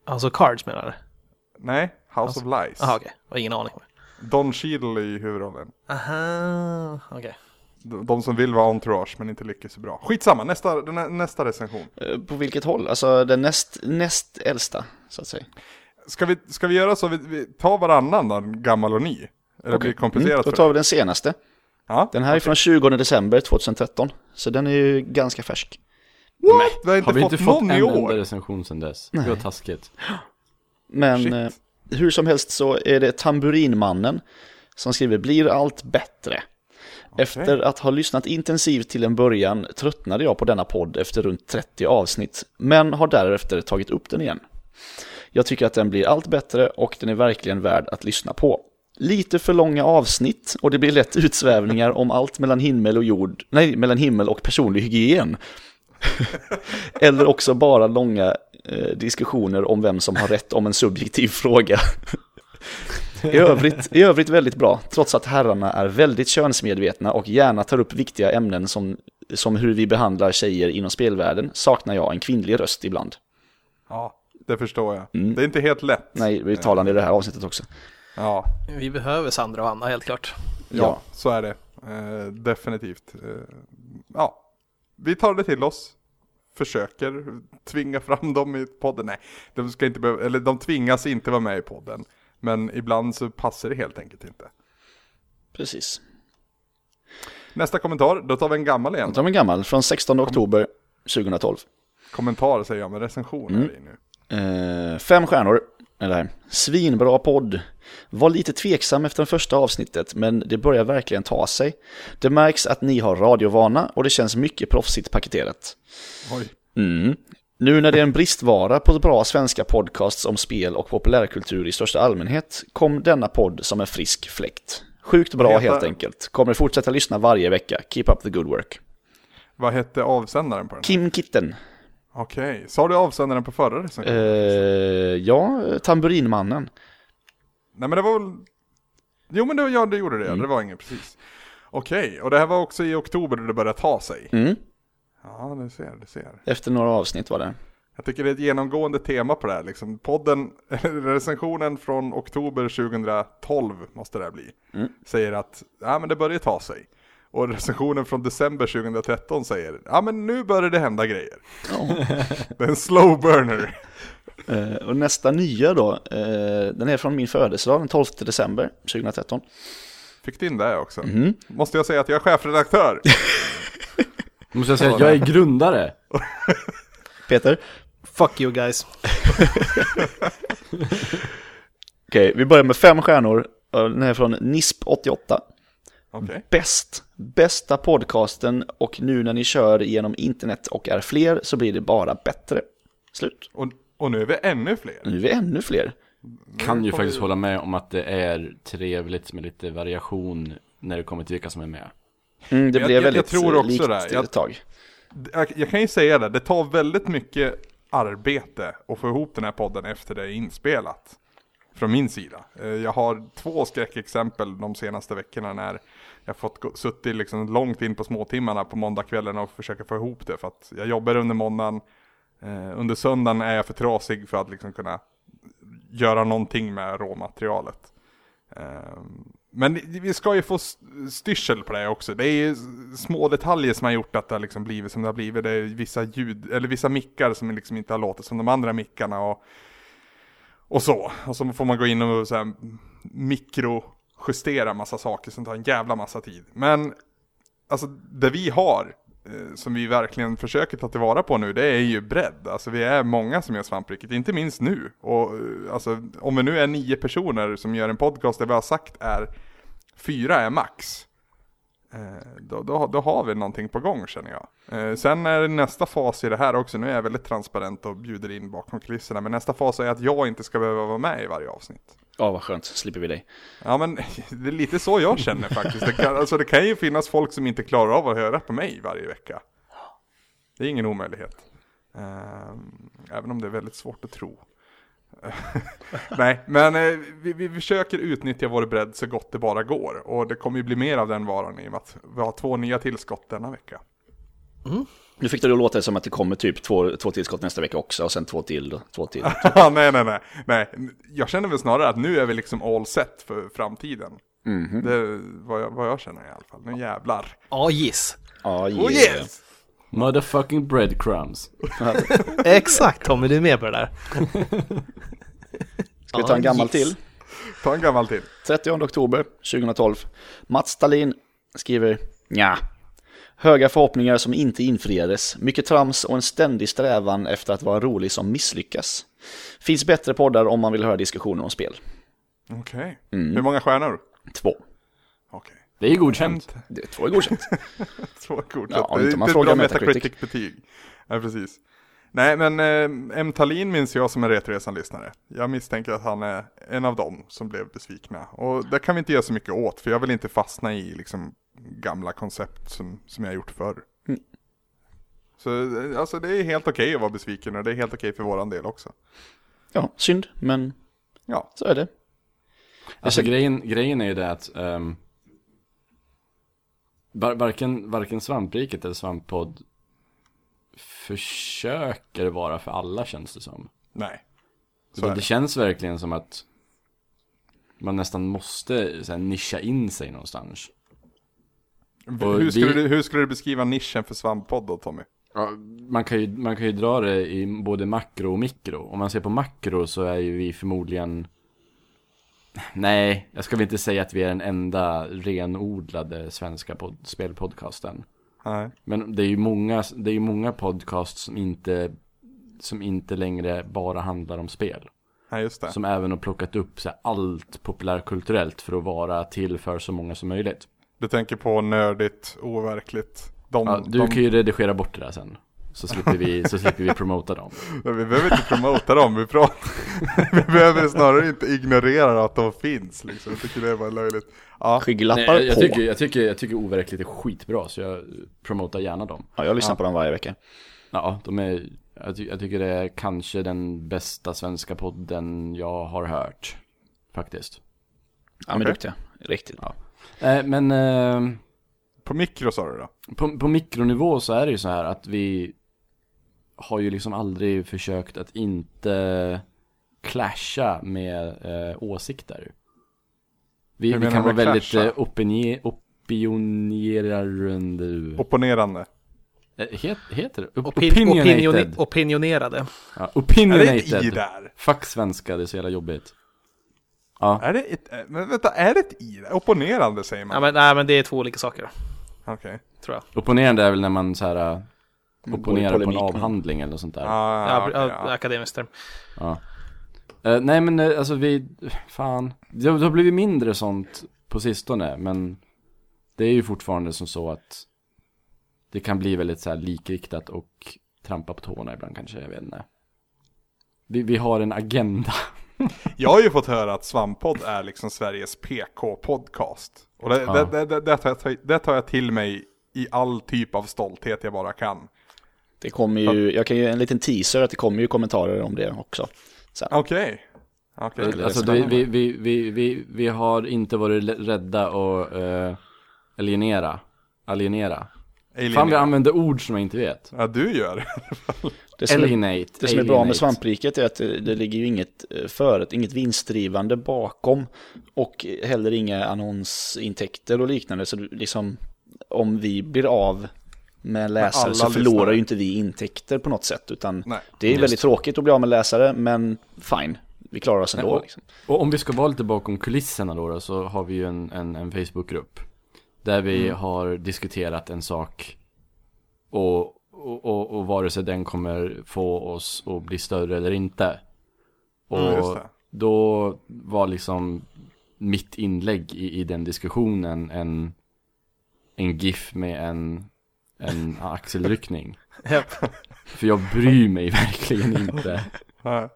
Speaker 4: Alltså Cards menar du?
Speaker 1: Nej, House of Lies.
Speaker 4: Jaha okej, Jag har ingen aning.
Speaker 1: Don Cheadle i huvudrollen.
Speaker 4: Aha, okej.
Speaker 1: De, de som vill vara entourage men inte lyckas så bra. Skitsamma, nästa, den här- nästa recension.
Speaker 2: Eh, På vilket håll? Alltså den näst, näst äldsta, så att säga.
Speaker 1: Ska vi, ska vi göra så? Vi, vi tar varannan då, gammal och ny. Eller blir det komplicerat
Speaker 2: Mm, då
Speaker 1: för dig?
Speaker 2: tar vi den senaste.
Speaker 1: Ja,
Speaker 2: Den här är från 20 december 2013, så den är ju ganska färsk.
Speaker 1: What? Vi har inte,
Speaker 3: Har vi
Speaker 1: fått,
Speaker 3: inte fått en
Speaker 1: någon i år.
Speaker 3: enda recension sedan dess? Det var taskigt.
Speaker 2: Men
Speaker 1: Shit.
Speaker 2: eh, hur som helst så är det Tamburinmannen som skriver “Blir allt bättre?” Efter att ha lyssnat intensivt till en början tröttnade jag på denna podd efter runt 30 avsnitt, men har därefter tagit upp den igen. Jag tycker att den blir allt bättre och den är verkligen värd att lyssna på. Lite för långa avsnitt och det blir lätt utsvävningar om allt mellan himmel och jord, nej, mellan himmel och personlig hygien. Eller också bara långa eh, diskussioner om vem som har rätt om en subjektiv fråga. I övrigt, I övrigt väldigt bra, trots att herrarna är väldigt könsmedvetna och gärna tar upp viktiga ämnen som, som hur vi behandlar tjejer inom spelvärlden, saknar jag en kvinnlig röst ibland.
Speaker 1: Ja, det förstår jag. Det är inte helt lätt.
Speaker 2: Nej, vi talar i det här avsnittet också.
Speaker 1: Ja,
Speaker 4: Vi behöver Sandra och Anna helt klart.
Speaker 1: ja, så är det. Eh, definitivt. Eh, ja, vi tar det till oss. Försöker tvinga fram dem i podden. Nej, de, ska inte behöva, eller de tvingas inte vara med i podden. Men ibland så passar det helt enkelt inte.
Speaker 2: precis.
Speaker 1: Nästa kommentar, då tar vi en gammal igen.
Speaker 2: Jag tar en gammal, från 16 oktober 2012.
Speaker 1: Kommentar säger jag, men recension är det ju nu.
Speaker 2: Eh, fem stjärnor. är det här. Svinbra podd. Var lite tveksam efter det första avsnittet, men det börjar verkligen ta sig. Det märks att ni har radiovana och det känns mycket proffsigt paketerat.
Speaker 1: Oj.
Speaker 2: Mm. Nu när det är en bristvara på bra svenska podcasts om spel och populärkultur i största allmänhet kom denna podd som en frisk fläkt. Sjukt bra
Speaker 1: Heta-
Speaker 2: helt enkelt. Kommer fortsätta lyssna varje vecka. Keep up the good work.
Speaker 1: Vad hette avsändaren på den? här?
Speaker 2: Kim Kitten.
Speaker 1: Okej, sa du avsändaren på förra recensionen?
Speaker 2: Eh, ja, Tamburinmannen.
Speaker 1: Nej men det var väl... Jo men det var, ja, det gjorde det, ja. det var inget precis. Okej, och det här var också i oktober då det började ta sig.
Speaker 2: Mm.
Speaker 1: Ja, du ser, du ser.
Speaker 2: Efter några avsnitt var det.
Speaker 1: Jag tycker det är ett genomgående tema på det här liksom. Podden, recensionen från oktober 2012 måste det här bli. Säger att, ja men det börjar ta sig. Och recensionen från december 2013 säger, ja men nu börjar det hända grejer. det är en slow burner.
Speaker 2: Eh, och nästa nya då, eh, den är från min födelsedag den 12 december 2013.
Speaker 1: Fick du in det här också? Måste jag säga att jag är chefredaktör?
Speaker 3: Måste jag säga att jag är grundare?
Speaker 2: Peter?
Speaker 4: Fuck you guys.
Speaker 2: Okej, vi börjar med fem stjärnor. Eh, Den är från NISP88.
Speaker 1: Okej.
Speaker 2: Bäst! Bästa podcasten och nu när ni kör genom internet och är fler så blir det bara bättre. Slut.
Speaker 1: Och, och nu är vi ännu fler.
Speaker 2: Nu är vi ännu fler.
Speaker 3: Kan ju
Speaker 1: får
Speaker 3: faktiskt
Speaker 1: vi-
Speaker 3: hålla med om att det är trevligt med lite variation när det kommer till vilka som är med.
Speaker 2: Mm, det
Speaker 1: Jag-
Speaker 2: blev
Speaker 1: jag- jag
Speaker 2: väldigt
Speaker 1: tror
Speaker 2: eh,
Speaker 1: också
Speaker 2: likt
Speaker 1: det här. Jag-
Speaker 2: ett tag.
Speaker 1: Jag, jag kan ju säga det, det tar väldigt mycket arbete att få ihop den här podden efter det är inspelat. Från min sida. Eh, Jag har två skräckexempel de senaste veckorna när jag fått gå, suttit liksom långt in på småtimmarna på måndagskvällen och försöka få ihop det. För att jag jobbar under måndagen, eh, under söndagen är jag för trasig för att liksom kunna göra någonting med råmaterialet. Ehm, Men vi ska ju få s- styrsel på det också. Det är ju s- små detaljer som har gjort att det har liksom blivit som det har blivit. Det är vissa ljud, eller vissa mickar som liksom inte har låtit som de andra mickarna och, och så. Och så får man gå in och så här mikrojustera massa saker som tar en jävla massa tid. Men alltså det vi har, eh, som vi verkligen försöker ta tillvara på nu, det är ju bredd. Alltså vi är många som gör svampriket, inte minst nu. Och eh, alltså, om vi nu är nio personer som gör en podcast där vi har sagt är fyra är max. eh, Då, då, då har vi någonting på gång känner jag. Eh, Sen är det nästa fas i det här också, nu är jag väldigt transparent och bjuder in bakom kulisserna, men nästa fas är att jag inte ska behöva vara med i varje avsnitt.
Speaker 2: Ja, vad skönt. Slipper vi dig.
Speaker 1: Ja men det är lite så jag känner faktiskt. Det kan, alltså, det kan ju finnas folk som inte klarar av att höra på mig varje vecka. Det är ingen omöjlighet. Ehm, även om det är väldigt svårt att tro. Nej, men eh, vi, vi försöker utnyttja vår bredd så gott det bara går. Och det kommer ju bli mer av den varan i och med att vi har två nya tillskott denna vecka.
Speaker 2: Nu fick det att låta som att det kommer typ två, två tillskott nästa vecka också och sen två till och två till.
Speaker 1: Ja, nej, nej, nej, nej. Jag känner väl snarare att nu är vi liksom all set för framtiden. Det är vad jag, vad jag känner i alla fall. Nu jävlar.
Speaker 4: Ja, giss.
Speaker 2: Ja,
Speaker 1: Oh
Speaker 2: yeah.
Speaker 1: yes!
Speaker 3: Motherfucking breadcrumbs.
Speaker 4: Exakt Tommy, du är med på det där.
Speaker 2: Ska vi ta en gammal till?
Speaker 1: Ta en gammal till.
Speaker 2: 30 oktober 2012. Mats Stalin skriver ja. Höga förhoppningar som inte infriades, mycket trams och en ständig strävan efter att vara rolig som misslyckas. Finns bättre poddar om man vill höra diskussioner om spel.
Speaker 1: Okej.
Speaker 2: Mm.
Speaker 1: Hur många stjärnor?
Speaker 2: Två.
Speaker 1: Okej.
Speaker 3: Det är ju godkänt.
Speaker 2: Det, två är godkänt.
Speaker 1: Två kort.
Speaker 2: Ja,
Speaker 1: det är
Speaker 2: inte
Speaker 1: inte
Speaker 2: man
Speaker 1: ett
Speaker 2: frågar
Speaker 1: bra
Speaker 2: Metacritic.
Speaker 1: Metacritic-betyg. Nej, precis. Nej, men eh, M. Tallin minns jag som en Retroresan-lyssnare. Jag misstänker att han är en av dem som blev besvikna. Och det kan vi inte göra så mycket åt, för jag vill inte fastna i liksom, gamla koncept som, som jag gjort förr.
Speaker 2: Mm.
Speaker 1: Så eh, alltså, det är helt okej att vara besviken och det är helt okej för våran del också.
Speaker 2: Ja, synd, men
Speaker 1: Ja,
Speaker 2: så är det.
Speaker 3: Alltså grejen, grejen är ju det att ehm, var, varken, varken svampriket eller svamppodd försöker vara för alla känns det som.
Speaker 1: nej. Så
Speaker 3: Utan
Speaker 1: är
Speaker 3: det
Speaker 1: det.
Speaker 3: känns verkligen som att man nästan måste så här, nischa in sig någonstans. Och
Speaker 1: Hur skulle,
Speaker 3: vi-
Speaker 1: du, hur skulle du beskriva nischen för svamppodd då, Tommy?
Speaker 3: Man kan, ju, man kan ju dra det i både makro och mikro. Om man ser på makro så är ju vi förmodligen... Nej, jag ska väl inte säga att vi är den enda renodlade svenska pod- spelpodcasten.
Speaker 1: Nej.
Speaker 3: Men det är ju många, det är ju många podcasts som inte, som inte längre bara handlar om spel.
Speaker 1: Nej, just det.
Speaker 3: Som även har plockat upp så här, allt populärkulturellt för att vara till för så många som möjligt.
Speaker 1: Du tänker på nördigt, overkligt. De,
Speaker 3: Ja, du
Speaker 1: de...
Speaker 3: kan ju redigera bort det där sen. Så slipper vi, så slipper vi promota dem.
Speaker 1: Men vi behöver inte promota dem, vi, pratar, vi behöver snarare inte ignorera att de finns liksom. Jag tycker det är bara löjligt. Ja,
Speaker 2: Skygglappar
Speaker 3: Nej, jag,
Speaker 2: på.
Speaker 3: tycker, jag, tycker, jag tycker overkligt är skitbra, så jag promotar gärna dem.
Speaker 2: Ja, jag lyssnar på dem varje vecka.
Speaker 3: Ja, de är, jag, ty, jag tycker det är kanske den bästa svenska podden jag har hört. Faktiskt.
Speaker 2: Ja, men duktiga. Riktigt bra.
Speaker 3: Eh, men... Eh,
Speaker 1: på mikro sa du då?
Speaker 3: på, på mikronivå så är det ju så här att vi har ju liksom aldrig försökt att inte clasha med eh, åsikter. Vi,
Speaker 1: Hur
Speaker 3: vi
Speaker 1: menar
Speaker 3: kan
Speaker 1: du
Speaker 3: vara
Speaker 1: med
Speaker 3: väldigt
Speaker 1: clasha?
Speaker 3: eh, opinje, opinionerande.
Speaker 1: Opponerande.
Speaker 3: eh, het, heter det? Op-
Speaker 4: Opin- opinioni-
Speaker 3: opinionated.
Speaker 4: opinionerade.
Speaker 3: Ja,
Speaker 1: Är det ett i
Speaker 3: opinionated.
Speaker 1: där?
Speaker 3: Fuck svenska, det är så jävla jobbigt. Ja,
Speaker 1: Är det ett, eh, men vänta, är det ett i där? Opponerande säger man.
Speaker 4: Ja, men, nej, men det är två olika saker,
Speaker 1: Okej.
Speaker 4: tror jag.
Speaker 3: opponerande är väl när man så här eh, opponerar på en
Speaker 2: polemik med-
Speaker 3: avhandling eller något sånt där.
Speaker 1: Ah,
Speaker 4: Ja,
Speaker 1: okej,
Speaker 4: ja. Akademiskt term.
Speaker 3: Eh, nej men eh, alltså vi, fan. Det har det har blivit mindre sånt på sistone men det är ju fortfarande som så att det kan bli väldigt så här likriktat och trampa på tårna ibland kanske, jag vet inte. Vi, vi har en agenda.
Speaker 1: Jag har ju fått höra att Svampodd är liksom Sveriges PK-podcast. Och det, det, det, det, det, tar jag, det tar jag till mig i all typ av stolthet jag bara kan.
Speaker 2: Det kommer ju, jag kan ju en liten teaser att det kommer ju kommentarer om det också. Sen.
Speaker 1: Okej. Okej.
Speaker 3: alltså det, vi, vi, vi, vi, vi har inte varit l- rädda och eh, alienera. Alienera. Fan vi
Speaker 1: Alien.
Speaker 3: använder ord som jag inte vet.
Speaker 1: Ja, du gör.
Speaker 2: Det som är-
Speaker 3: Alienate.
Speaker 2: Det som är bra med
Speaker 3: alienate.
Speaker 2: svampriket är att det, det ligger ju inget eh, föret, inget vinstdrivande bakom och heller inga annonsintäkter och liknande. Så du- liksom, om vi blir av med läsare
Speaker 1: alla
Speaker 2: så förlorar
Speaker 1: lyssnare.
Speaker 2: ju inte vi intäkter på något sätt. Utan
Speaker 1: Nej,
Speaker 2: det är väldigt tråkigt att bli av med läsare, men fine, vi klarar oss ändå.
Speaker 3: och-
Speaker 2: liksom.
Speaker 3: Och om vi ska vara lite bakom kulisserna då, då så har vi ju en, en, en Facebookgrupp. Där vi
Speaker 1: Mm.
Speaker 3: har diskuterat en sak och, och, och, och vare sig den kommer få oss att bli större eller inte. Och
Speaker 1: Mm, just det.
Speaker 3: då var liksom mitt inlägg i, i den diskussionen en, en GIF med en, en axelryckning.
Speaker 4: Japp.
Speaker 3: För jag bryr mig verkligen inte.
Speaker 1: Ja.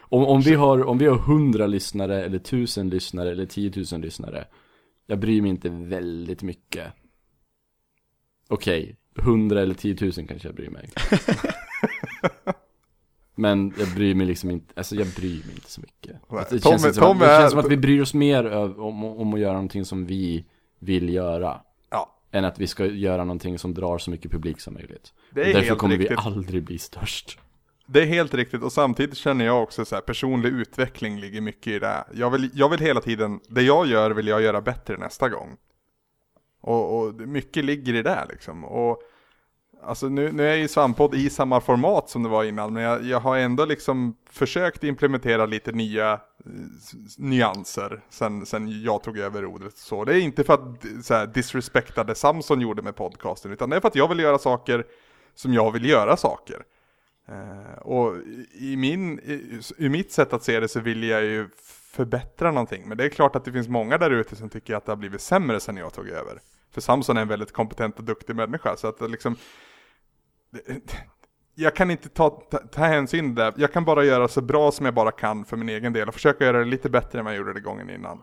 Speaker 3: Om, om, vi har, om vi har 100 lyssnare eller 1000 lyssnare eller 10 000 lyssnare. Jag bryr mig inte väldigt mycket. Okej, 100 eller 10 000 kanske jag bryr mig. Men jag bryr mig liksom inte, alltså jag bryr mig inte så mycket. Alltså,
Speaker 1: Nej,
Speaker 3: Det,
Speaker 1: Tommy-
Speaker 3: känns, inte som, att-
Speaker 1: Tommy
Speaker 3: det
Speaker 1: är-
Speaker 3: känns som att vi bryr oss mer öv- om, om att göra någonting som vi vill göra.
Speaker 1: ja.
Speaker 3: än att vi ska göra någonting som drar så mycket publik som möjligt.
Speaker 1: Det är
Speaker 3: Och Därför
Speaker 1: helt
Speaker 3: kommer vi
Speaker 1: riktigt.
Speaker 3: aldrig bli störst.
Speaker 1: Det är helt riktigt och samtidigt känner jag också så här, personlig utveckling ligger mycket i det. här. Jag vill, jag vill hela tiden, det jag gör vill jag göra bättre nästa gång. Och, och det- mycket ligger i det liksom. Och alltså nu, nu är ju Svampodd i samma format som det var innan, men jag, jag har ändå liksom försökt implementera lite nya eh, s- s- nyanser sen, sen jag tog över rodret. Så det är inte för att eh, så här, disrespekta det Samson gjorde med podcasten, utan det är för att jag vill göra saker som jag vill göra saker. Eh, och i- i, min, i, i mitt sätt att se det så vill jag ju förbättra någonting. Men det är klart att det finns många där ute som tycker att det har blivit sämre sedan jag tog över. För Samson är en väldigt kompetent och duktig människa. Så att det liksom... Jag kan inte ta, ta, ta hänsyn där. Jag kan bara göra så bra som jag bara kan för min egen del. Och försöka göra det lite bättre än vad jag gjorde det gången innan.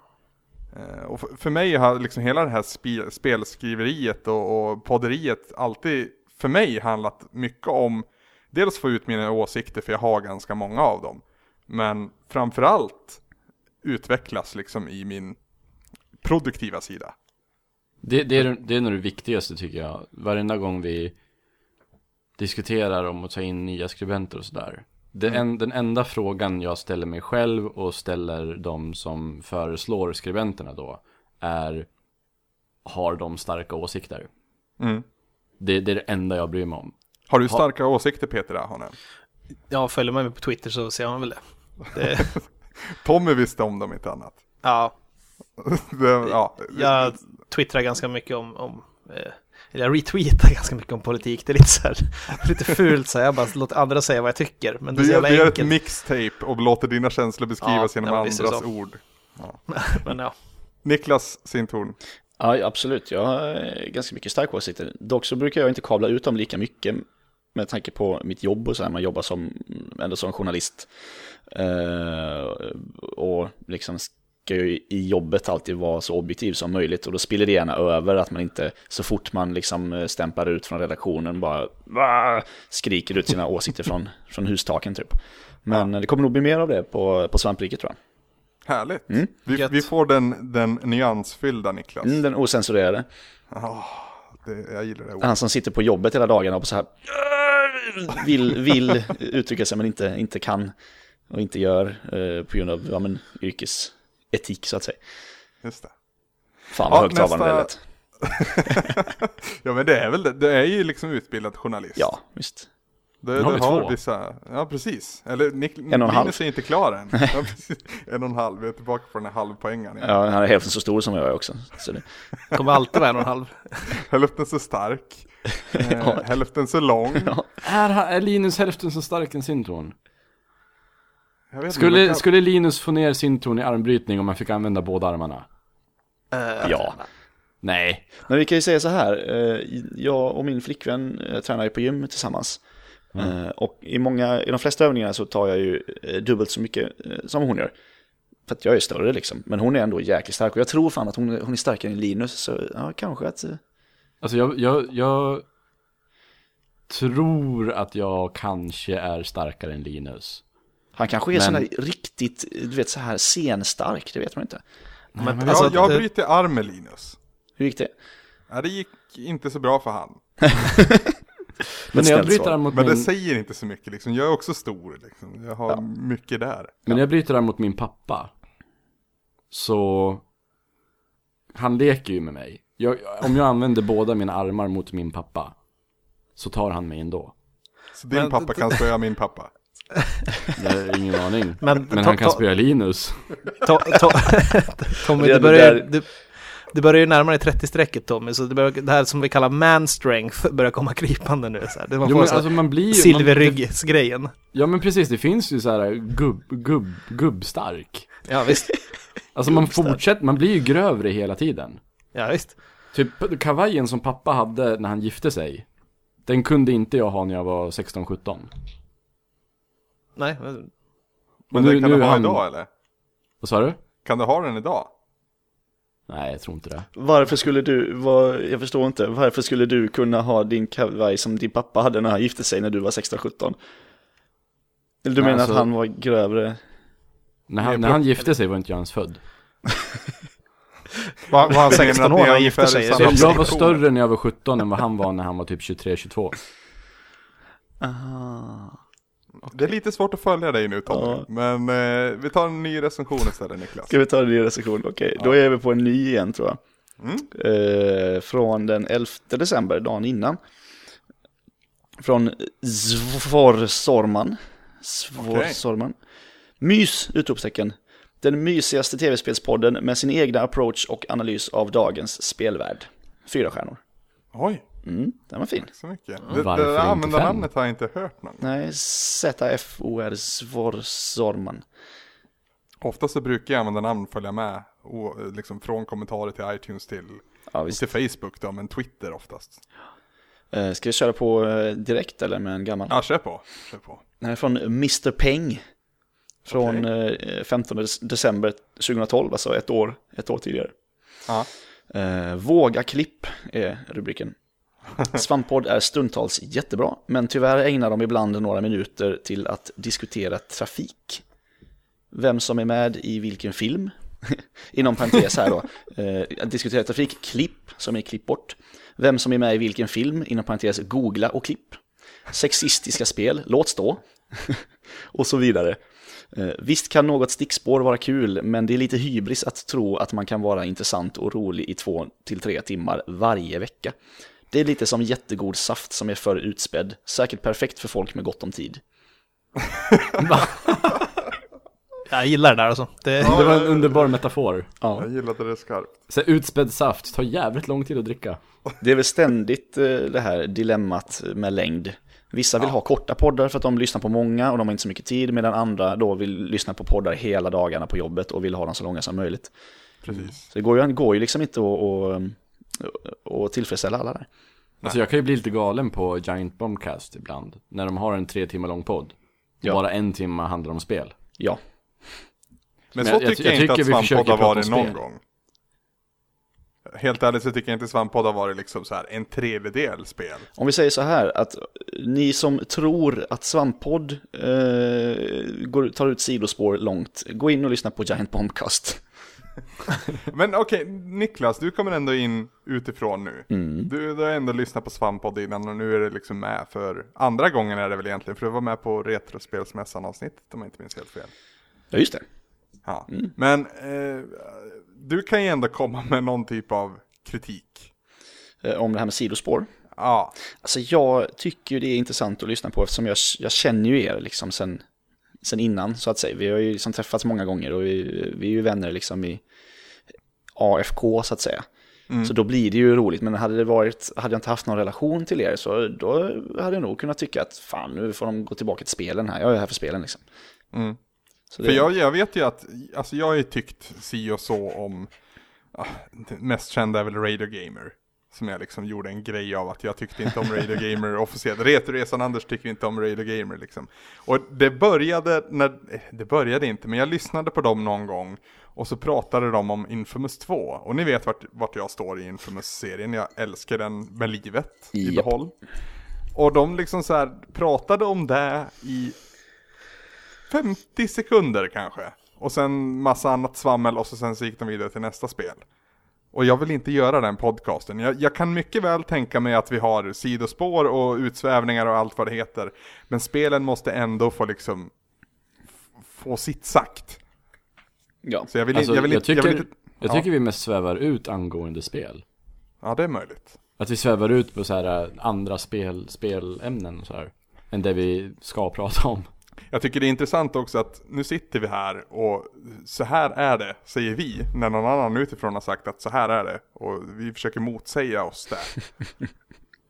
Speaker 1: Eh, Och för, för mig har liksom hela det här spe- spelskriveriet och, och podderiet alltid för mig handlat mycket om dels få ut mina åsikter för jag har ganska många av dem. Men framförallt utvecklas liksom i min produktiva sida.
Speaker 3: Det, det, är, det är nog det viktigaste tycker jag. Varenda gång vi diskuterar om att ta in nya skribenter och sådär. Det en, den enda frågan jag ställer mig själv och ställer de som föreslår skribenterna då är har de starka åsikter?
Speaker 1: Mm.
Speaker 3: Det, det är det enda jag bryr mig om.
Speaker 1: Har du starka åsikter Peter Ahonen?
Speaker 4: Ja, följer man mig på Twitter så ser man väl det.
Speaker 1: Tommy visste om dem inte annat.
Speaker 4: Ja,
Speaker 1: Det, ja.
Speaker 4: jag
Speaker 1: Mm.
Speaker 4: twittrar ganska mycket om, om eh, eller jag retweetar ganska mycket om politik. Det är lite så här, lite fult så här. jag bara låter andra säga vad jag tycker. Men det är
Speaker 1: Du,
Speaker 4: så
Speaker 1: gör,
Speaker 4: jävla
Speaker 1: du gör ett
Speaker 4: enkelt.
Speaker 1: mixtape och låter dina känslor beskrivas
Speaker 4: Ja,
Speaker 1: genom
Speaker 4: ja, visst är det
Speaker 1: andras
Speaker 4: så.
Speaker 1: ord.
Speaker 4: Men ja,
Speaker 1: Niklas Sintorn.
Speaker 2: Ja, absolut. Jag har eh, ganska mycket starka åsikter. Dock så brukar jag inte kabla ut dem lika mycket med tanke på mitt jobb och så här. Man jobbar som, ändå som journalist. Eh, och liksom ska ju i jobbet alltid vara så objektiv som möjligt. Och då spiller det gärna över att man inte så fort man liksom eh, stämpar ut från redaktionen bara "Va!" skriker ut sina åsikter från, från hustaken typ. Men eh, det kommer nog bli mer av det på, på svampriket tror jag.
Speaker 1: Härligt. Vi,
Speaker 4: Gött.
Speaker 1: vi får den, den nyansfyllda Niklas.
Speaker 2: Mm, den osensurerade.
Speaker 1: Det, jag gillar det ordet.
Speaker 2: Han som sitter på jobbet hela dagarna och så här "Åh!" vill, vill uttrycka sig men inte, inte kan och inte gör eh, på grund av ja, men, yrkesetik så att säga.
Speaker 1: Just det.
Speaker 2: Fan vad
Speaker 1: Ja,
Speaker 2: högtravande
Speaker 1: nästa-
Speaker 2: det lät.
Speaker 1: Ja men det är väl det. Du är ju liksom utbildad journalist.
Speaker 2: Ja, visst.
Speaker 1: Det,
Speaker 3: Nu har
Speaker 1: det
Speaker 3: vi
Speaker 1: har
Speaker 3: två.
Speaker 1: vissa, ja precis. Eller Nick,
Speaker 2: en halv.
Speaker 1: Linus är inte klar än. Ja, precis. en och en halv, vi är tillbaka på den här halvpoängaren. igen.
Speaker 2: Ja, han är hälften så stor som jag är också. Så det,
Speaker 4: kommer alltid vara en och en halv.
Speaker 1: Hälften så stark, eh, hälften så lång.
Speaker 3: Är, han- är Linus hälften så stark än Sintorn?
Speaker 1: Jag vet inte,
Speaker 3: Skulle,
Speaker 1: men-
Speaker 3: skulle Linus få ner Sintorn i armbrytning om man fick använda båda armarna?
Speaker 2: ja.
Speaker 3: Nej.
Speaker 2: Men vi kan ju säga så här, eh, jag och min flickvän eh, tränar ju på gym tillsammans.
Speaker 3: Mm.
Speaker 2: Eh, Och i, många, i de flesta övningarna så tar jag ju eh, dubbelt så mycket eh, som hon gör. För att jag är större liksom, men hon är ändå jäkligt stark. Och jag tror fan att hon, hon är starkare än Linus, så ja, kanske att... eh,
Speaker 3: Alltså jag, jag, jag tror att jag kanske är starkare än Linus.
Speaker 2: Han kanske är
Speaker 3: Men-
Speaker 2: sån där riktigt, eh, du vet så här senstark, det vet man inte.
Speaker 4: Men,
Speaker 1: jag,
Speaker 4: alltså,
Speaker 1: jag
Speaker 4: det-
Speaker 1: bryter arm med Linus.
Speaker 2: Hur gick det?
Speaker 1: Ja, det gick inte så bra för han.
Speaker 3: Men när jag
Speaker 2: snällt
Speaker 3: bryter
Speaker 2: svar.
Speaker 3: arm mot
Speaker 1: Men det
Speaker 3: min,
Speaker 1: säger inte så mycket liksom. Jag är också stor liksom. Jag har mycket där.
Speaker 3: men när jag bryter arm mot min pappa. Så han leker ju med mig. Jag, om jag använder båda mina armar mot min pappa. Så tar han mig ändå.
Speaker 1: Så din
Speaker 4: Men-
Speaker 1: pappa kan spöa min pappa.
Speaker 3: Jag har ingen aning.
Speaker 4: Men-
Speaker 3: Men, han kan spöa Linus.
Speaker 4: To, to, Tommy,
Speaker 2: Det är
Speaker 4: du
Speaker 2: det
Speaker 4: börjar,
Speaker 2: där-
Speaker 4: du, du börjar ju närma dig 30-strecket Tommy, så det, börjar, det här som vi kallar man strength börjar komma krypande nu. Så här. Det, man
Speaker 3: Jo,
Speaker 4: får
Speaker 3: men,
Speaker 4: så här
Speaker 3: alltså, man blir, ju- Man,
Speaker 4: silverryggsgrejen.
Speaker 3: ja men precis, det finns ju så här gubb, gubb, gubbstark.
Speaker 4: Ja, visst.
Speaker 3: Alltså man fortsätter, man blir ju grövre hela tiden.
Speaker 4: Ja, visst.
Speaker 3: Typ kavajen som pappa hade när han gifte sig. Den kunde inte jag ha när jag var 16-17.
Speaker 4: Nej, men-
Speaker 1: Men
Speaker 3: nu-
Speaker 1: den kan
Speaker 3: nu
Speaker 1: du
Speaker 3: är
Speaker 1: ha
Speaker 3: han-
Speaker 1: idag eller?
Speaker 3: Vad sa du?
Speaker 1: Kan du ha den idag?
Speaker 3: Nej, jag tror inte det.
Speaker 2: Varför skulle du, var, jag förstår inte, varför skulle du kunna ha din kavaj som din pappa hade när han gifte sig när du var 16-17? Eller du
Speaker 3: Nej,
Speaker 2: menar
Speaker 3: alltså-
Speaker 2: att han var grövre?
Speaker 3: När han, när han gifte sig var inte jag ens född.
Speaker 5: Var, var han
Speaker 1: menar
Speaker 5: 16
Speaker 1: att ni
Speaker 5: år
Speaker 1: är
Speaker 5: när han gifte
Speaker 1: ungefär
Speaker 5: sig?
Speaker 1: i samma
Speaker 5: eller?
Speaker 1: ålder?
Speaker 3: Jag var större när jag var 17 än vad han var när han var typ 23-22.
Speaker 1: Det är lite svårt att följa dig nu Tommy,
Speaker 2: Ja.
Speaker 1: men eh, vi tar en ny recension istället Niklas.
Speaker 2: Ska vi ta en ny recension? Okej, då är vi på en ny igen tror jag. Mm. Eh, från den 11 december, dagen innan. Från Svorsorman. Svorsorman. Mys! Utropstecken. Den mysigaste tv-spelspodden med sin egna approach och analys av dagens spelvärld. Fyra stjärnor.
Speaker 1: Oj,
Speaker 2: Mm, den var fin.
Speaker 1: så mycket. Det, det
Speaker 3: varför
Speaker 1: där
Speaker 3: inte
Speaker 1: användarnamnet har jag inte hört någon.
Speaker 2: Nej, ZFOR Svorsorman.
Speaker 1: Ofta så brukar jag använda namn följa med, och, eh, liksom från kommentarer till iTunes till,
Speaker 2: Ja, visst.
Speaker 1: inte Facebook då, men Twitter oftast.
Speaker 2: Eh, ska vi köra på eh, direkt eller med en gammal?
Speaker 1: Ja, kör på, kör på.
Speaker 2: Den här är från Mr. Peng. Från eh, 15 december 2012, alltså ett år, ett år tidigare.
Speaker 1: Ja.
Speaker 2: Eh, Våga klipp är rubriken. Svamppodd är stundtals jättebra, men tyvärr ägnar de ibland några minuter till att diskutera trafik. Vem som är med i vilken film. Inom parentes här då. Eh, att diskutera trafik, klipp, som är klipp bort. Vem som är med i vilken film, inom parentes googla och klipp. Sexistiska spel, låt stå. och så vidare. Eh, Visst kan något stickspår vara kul, men det är lite hybris att tro att man kan vara intressant och rolig i två till tre timmar varje vecka. Det är lite som jättegod saft som är för utspädd, säkert perfekt för folk med gott om tid.
Speaker 4: Jag gillar det där alltså. Det,
Speaker 3: Det var en underbar metafor.
Speaker 2: Ja,
Speaker 1: Jag gillade det skarpt.
Speaker 3: Så här, utspädd saft tar jävligt lång tid att dricka.
Speaker 2: det är väl ständigt eh, det här dilemmat med längd. Vissa vill ha korta poddar för att de lyssnar på många och de har inte så mycket tid, medan andra då vill lyssna på poddar hela dagarna på jobbet och vill ha dem så långa som möjligt.
Speaker 1: Precis.
Speaker 2: Så det går ju, går ju liksom inte att, att, att tillfredsställa alla där.
Speaker 3: Alltså jag kan ju bli lite galen på Giant Bombcast ibland. När de har en tre timmar lång podd.
Speaker 2: Ja.
Speaker 3: Bara en timme handlar om spel.
Speaker 2: Ja,
Speaker 1: Men
Speaker 3: Men
Speaker 1: så
Speaker 3: jag-
Speaker 1: tycker jag,
Speaker 3: jag
Speaker 1: inte
Speaker 3: tycker
Speaker 1: att
Speaker 3: vi försöker
Speaker 1: Svampodd har varit
Speaker 3: prata om
Speaker 1: någon
Speaker 3: spel.
Speaker 1: gång. Helt ärligt så tycker jag inte Svampodd har varit liksom så här en tredjedel spel.
Speaker 2: Om vi säger så här, att ni som tror att Svamppodd eh, går, tar ut sidospår långt, gå in och lyssna på Giant Bombcast.
Speaker 1: Men okej, Niklas, du kommer ändå in utifrån nu.
Speaker 3: Mm.
Speaker 1: Du, du har ändå lyssnat på Svampodd innan och nu är det liksom med för andra gången är det väl egentligen, för du var med på Retrospelsmässan avsnittet om jag inte minns helt fel.
Speaker 2: Ja, just det.
Speaker 1: Ja.
Speaker 3: Mm.
Speaker 1: Men eh, du kan ju ändå komma med någon typ av kritik.
Speaker 2: Eh, om det här med sidospår.
Speaker 1: Ja,
Speaker 2: Alltså jag tycker ju det är intressant att lyssna på eftersom jag, jag känner ju er liksom sen, sen innan så att säga. Vi har ju liksom träffats många gånger och vi, vi är ju vänner liksom i AFK så att säga.
Speaker 1: Mm.
Speaker 2: Så då blir det ju roligt, men hade, det varit, hade jag inte haft någon relation till er så då hade jag nog kunnat tycka att fan nu får de gå tillbaka till spelen här, jag är här för spelen liksom.
Speaker 1: Mm.
Speaker 2: Så det,
Speaker 1: För jag, jag vet ju att, alltså jag har ju tyckt si och så om, ah, det mest kända är väl Radio Gamer. Som jag liksom gjorde en grej av att jag tyckte inte om Radio Gamer officiellt. Retoresan Anders tycker inte om Radio Gamer liksom. Och det började, när, eh, det började inte, men jag lyssnade på dem någon gång. Och så pratade de om Infamous 2. Och ni vet vart, vart jag står i Infamous-serien. Jag älskar den med livet i
Speaker 2: Japp.
Speaker 1: behåll. Och de liksom så här pratade om det i 50 sekunder kanske. Och sen massa annat svammel och så sen så gick de vidare till nästa spel. Och jag vill inte göra den podcasten. Jag, jag kan mycket väl tänka mig att vi har sidospår och utsvävningar och allt vad det heter. Men spelen måste ändå få liksom f- få sitt sagt.
Speaker 2: ja.
Speaker 1: Så jag vill,
Speaker 3: Alltså,
Speaker 1: jag
Speaker 3: jag,
Speaker 1: vill, inte-
Speaker 3: tycker,
Speaker 1: jag
Speaker 3: jag
Speaker 1: vill inte... ja.
Speaker 3: tycker vi mest svävar ut angående spel.
Speaker 1: Ja, det är möjligt.
Speaker 3: Att vi svävar ut på så här eh, andra spel, spelämnen och så här. Än det vi ska prata om.
Speaker 1: Jag tycker det är intressant också att nu sitter vi här och så här är det, säger vi, när någon annan utifrån har sagt att så här är det. Och vi försöker motsäga oss där.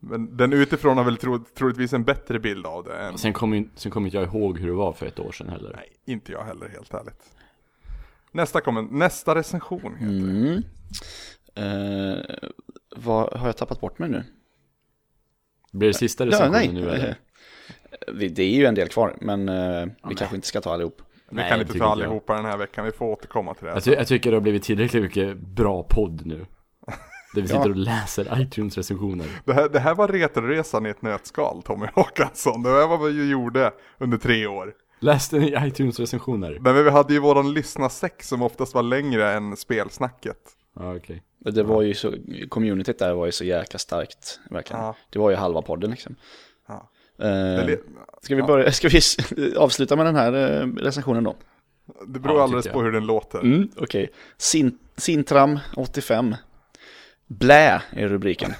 Speaker 1: Men den utifrån har väl tro, troligtvis en bättre bild av det än
Speaker 3: Sen kommer ju- sen kommer inte jag ihåg hur det var för ett år sedan heller.
Speaker 1: Nej, inte jag heller helt ärligt. Nästa, komment, nästa recension heter det.
Speaker 2: Mm. Eh, vad har jag tappat bort mig nu?
Speaker 3: Blir det sista
Speaker 2: Ja,
Speaker 3: recensionen
Speaker 2: nej. Eh,
Speaker 3: nu eller?
Speaker 2: Vi- Det är ju en del kvar, men eh, vi kanske inte ska ta allihop.
Speaker 1: Vi
Speaker 3: Nej,
Speaker 1: kan
Speaker 3: det
Speaker 1: inte
Speaker 3: tycker
Speaker 1: ta
Speaker 3: inte jag.
Speaker 1: allihopa den här veckan, vi får återkomma till det. här.
Speaker 3: Jag, ty- jag tycker det har blivit tillräckligt mycket bra podd nu. Där vi sitter och läser iTunes-recensioner.
Speaker 1: Det, här, det här var Retroresan i ett nötskal, Tommy Håkansson. Det här var vad vi gjorde under tre år.
Speaker 3: Läste ni iTunes-recensioner?
Speaker 1: Men vi hade ju våran lyssna sex som oftast var längre än spelsnacket.
Speaker 3: Ja, okej.
Speaker 2: Men Det var ju så, communityt där var ju så jäkla starkt, verkligen.
Speaker 1: Ja.
Speaker 2: Det var ju halva podden liksom.
Speaker 1: Ja.
Speaker 2: Eh,
Speaker 1: Eller-
Speaker 2: ska vi,
Speaker 1: ja.
Speaker 2: börja, ska vi s- avsluta med den här eh, recensionen då?
Speaker 1: Det beror
Speaker 3: Ja,
Speaker 1: alldeles
Speaker 3: tycker
Speaker 1: på hur den låter.
Speaker 2: Mm, Okej. Sin, Sintram 85. Blä är rubriken.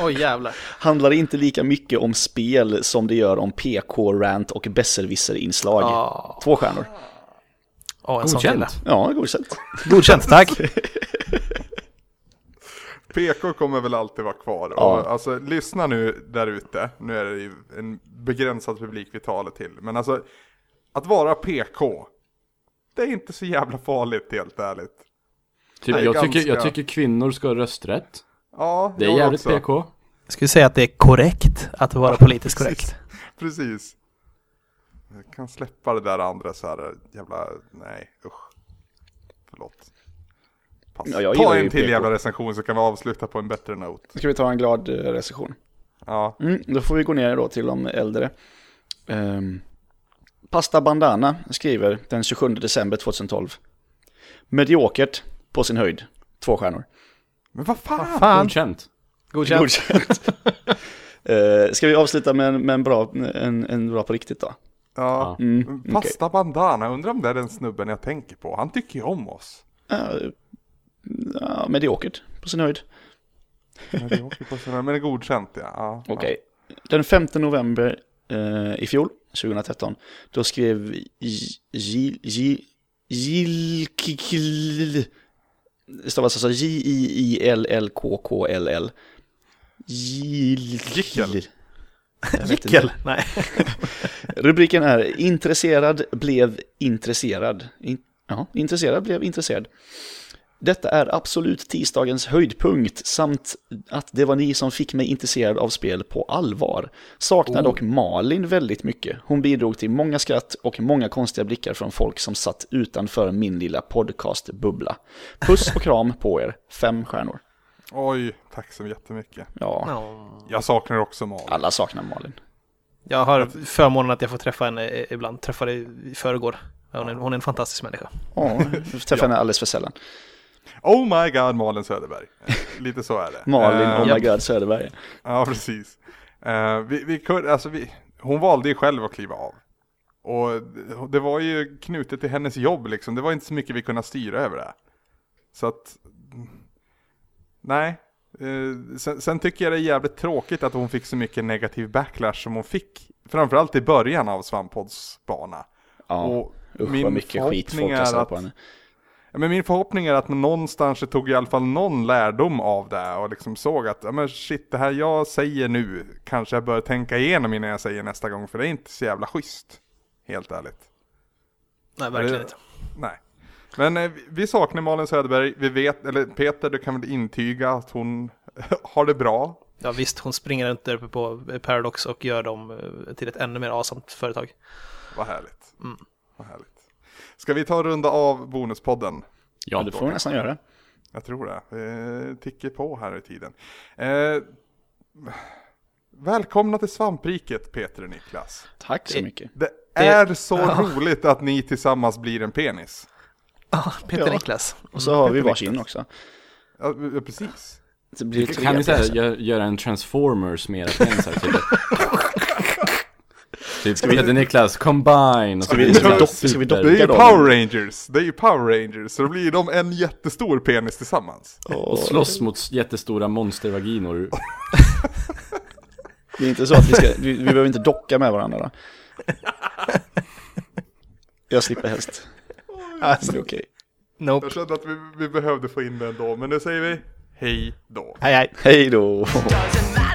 Speaker 4: Oj jävlar.
Speaker 2: Handlar inte lika mycket om spel som det gör om PK-rant och besserwisser-inslag.
Speaker 4: Ja.
Speaker 2: Två stjärnor.
Speaker 4: Ja, en sån
Speaker 3: Godkänt.
Speaker 4: till.
Speaker 2: Ja, godkänt.
Speaker 4: Godkänt, tack.
Speaker 1: PK kommer väl alltid vara kvar.
Speaker 2: Ja.
Speaker 1: Och, alltså, lyssna nu där ute. Nu är det ju en begränsad publik vi talar till. Men alltså, att vara PK, det är inte så jävla farligt helt ärligt.
Speaker 3: Typ,
Speaker 1: Nej,
Speaker 3: jag,
Speaker 1: ganska.
Speaker 3: tycker, jag tycker kvinnor ska ha rösträtt.
Speaker 1: Ja,
Speaker 3: Det är
Speaker 1: jag
Speaker 3: jävligt
Speaker 1: också.
Speaker 3: PK.
Speaker 4: Jag skulle säga att det är korrekt att vara politiskt korrekt.
Speaker 1: Precis. Jag kan släppa det där andra så här jävla, nej usch. Förlåt. Pass.
Speaker 2: Ja, jag gillar
Speaker 1: Ta
Speaker 2: ju
Speaker 1: en till
Speaker 2: PK.
Speaker 1: jävla recension så kan vi avsluta på en bättre not.
Speaker 2: Ska vi ta en glad eh, recension?
Speaker 1: Ja,
Speaker 2: Mm, då får vi gå ner då till de äldre. Ehm, Pasta Bandana skriver den 27 december 2012. Mediokert på sin höjd. Två stjärnor.
Speaker 1: men vad fan.
Speaker 4: Fan,
Speaker 3: Godkänt.
Speaker 4: godkänt.
Speaker 2: Godkänt. Eh, ska vi avsluta med, en- med en, bra, en, en bra på riktigt då?
Speaker 1: Ja.
Speaker 2: Mm,
Speaker 1: Pasta bandana, undrar om det är den snubben jag tänker på. Han tycker ju om oss.
Speaker 2: okej. Ja, mediokert på sin höjd.
Speaker 1: Men det åker på sina- men det är godkänt ja. ja.
Speaker 2: Okej. Den 5 november eh, i fjol, 2013, då skrev J- J- J- Jilkikl... Det stavas alltså J-I-I-L-L-K-K-L-L. Jilkikl.
Speaker 1: Jickel.
Speaker 2: Jag vet
Speaker 4: Jickel.
Speaker 2: inte.
Speaker 4: Nej.
Speaker 2: Rubriken är Intresserad blev intresserad. In, ja, intresserad blev intresserad. Detta är absolut tisdagens höjdpunkt samt att det var ni som fick mig intresserad av spel på allvar. Saknar dock Malin väldigt mycket. Hon bidrog till många skratt och många konstiga blickar från folk som satt utanför min lilla podcastbubbla. Puss och kram på er, fem stjärnor.
Speaker 1: Oj, tack så jättemycket.
Speaker 2: Ja,
Speaker 4: Ja.
Speaker 1: Jag saknar också Malin.
Speaker 2: alla saknar Malin.
Speaker 4: Jag har förmånen att jag får träffa henne eh, ibland. Träffade i förrgår. Hon är, hon är en fantastisk människa.
Speaker 2: Ja, jag träffar henne alldeles för sällan.
Speaker 1: Oh my god, Malin Söderberg. Eh, Lite så är det.
Speaker 2: Malin,
Speaker 1: Eh,
Speaker 2: oh my
Speaker 4: japp.
Speaker 2: god, Söderberg.
Speaker 1: Ja, precis. Eh, vi, vi kunde, alltså vi, hon valde ju själv att kliva av. Och det- det var ju knutet till hennes jobb liksom. Det var inte så mycket vi kunde styra över det. Så att, mm, nej. Eh, sen, sen tycker jag det är jävligt tråkigt att hon fick så mycket negativ backlash som hon fick. Framförallt i början av Svampods bana.
Speaker 2: Ja,
Speaker 1: Och
Speaker 2: usch vad
Speaker 1: min
Speaker 2: mycket skit folk
Speaker 1: förhoppning är
Speaker 2: kastade
Speaker 1: att-
Speaker 2: på henne.
Speaker 1: Ja, Men min förhoppning är att man någonstans tog i alla fall någon lärdom av det och liksom såg att ja, men shit, det här jag säger nu kanske jag bör tänka igenom innan jag säger nästa gång för det är inte så jävla schysst. Helt ärligt.
Speaker 4: Nej, verkligen
Speaker 1: Det-
Speaker 4: inte.
Speaker 1: Nej. Men eh, vi- vi saknar Malin Söderberg, vi vet, eller Peter du kan väl intyga att hon har det bra.
Speaker 4: Ja, visst, hon springer runt där uppe på Paradox och gör dem eh, till ett ännu mer asamt företag.
Speaker 1: Vad härligt. Vad härligt. Ska vi ta och runda av Bonuspodden?
Speaker 2: Ja, det får vi nästan göra.
Speaker 1: Jag tror det. Eh, ticker på här i tiden. Eh, välkomna till svampriket Peter och Niklas.
Speaker 2: Tack så mycket.
Speaker 1: Det, är så roligt att ni tillsammans blir en penis.
Speaker 4: Ah, Peter
Speaker 2: Ja.
Speaker 4: Niklas.
Speaker 2: Och så har vi varsin också.
Speaker 1: Ja, ja, precis.
Speaker 2: Det blir tre
Speaker 3: Kan ni
Speaker 2: pjäser.
Speaker 3: såhär, gö- göra en transformers med era penisar? Typ, typ ska vi heta Niklas, combine! Ska
Speaker 2: vi- ska vi dopp- ska vi
Speaker 1: Det
Speaker 2: doppa-
Speaker 1: är ju
Speaker 2: Likadan.
Speaker 1: Power Rangers. Det är ju Power Rangers. Så då blir de en jättestor penis tillsammans.
Speaker 3: Och slåss mot jättestora monstervaginor.
Speaker 2: Det är inte så att vi ska, vi, vi behöver inte docka med varandra då. Jag slipper helst.
Speaker 4: Alltså,
Speaker 2: Det är okej.
Speaker 4: nope.
Speaker 1: Jag kände att vi, vi behövde få in den då, men nu säger vi hej då.
Speaker 4: Hej, hej.
Speaker 2: Hej då!
Speaker 5: Doesn't matter.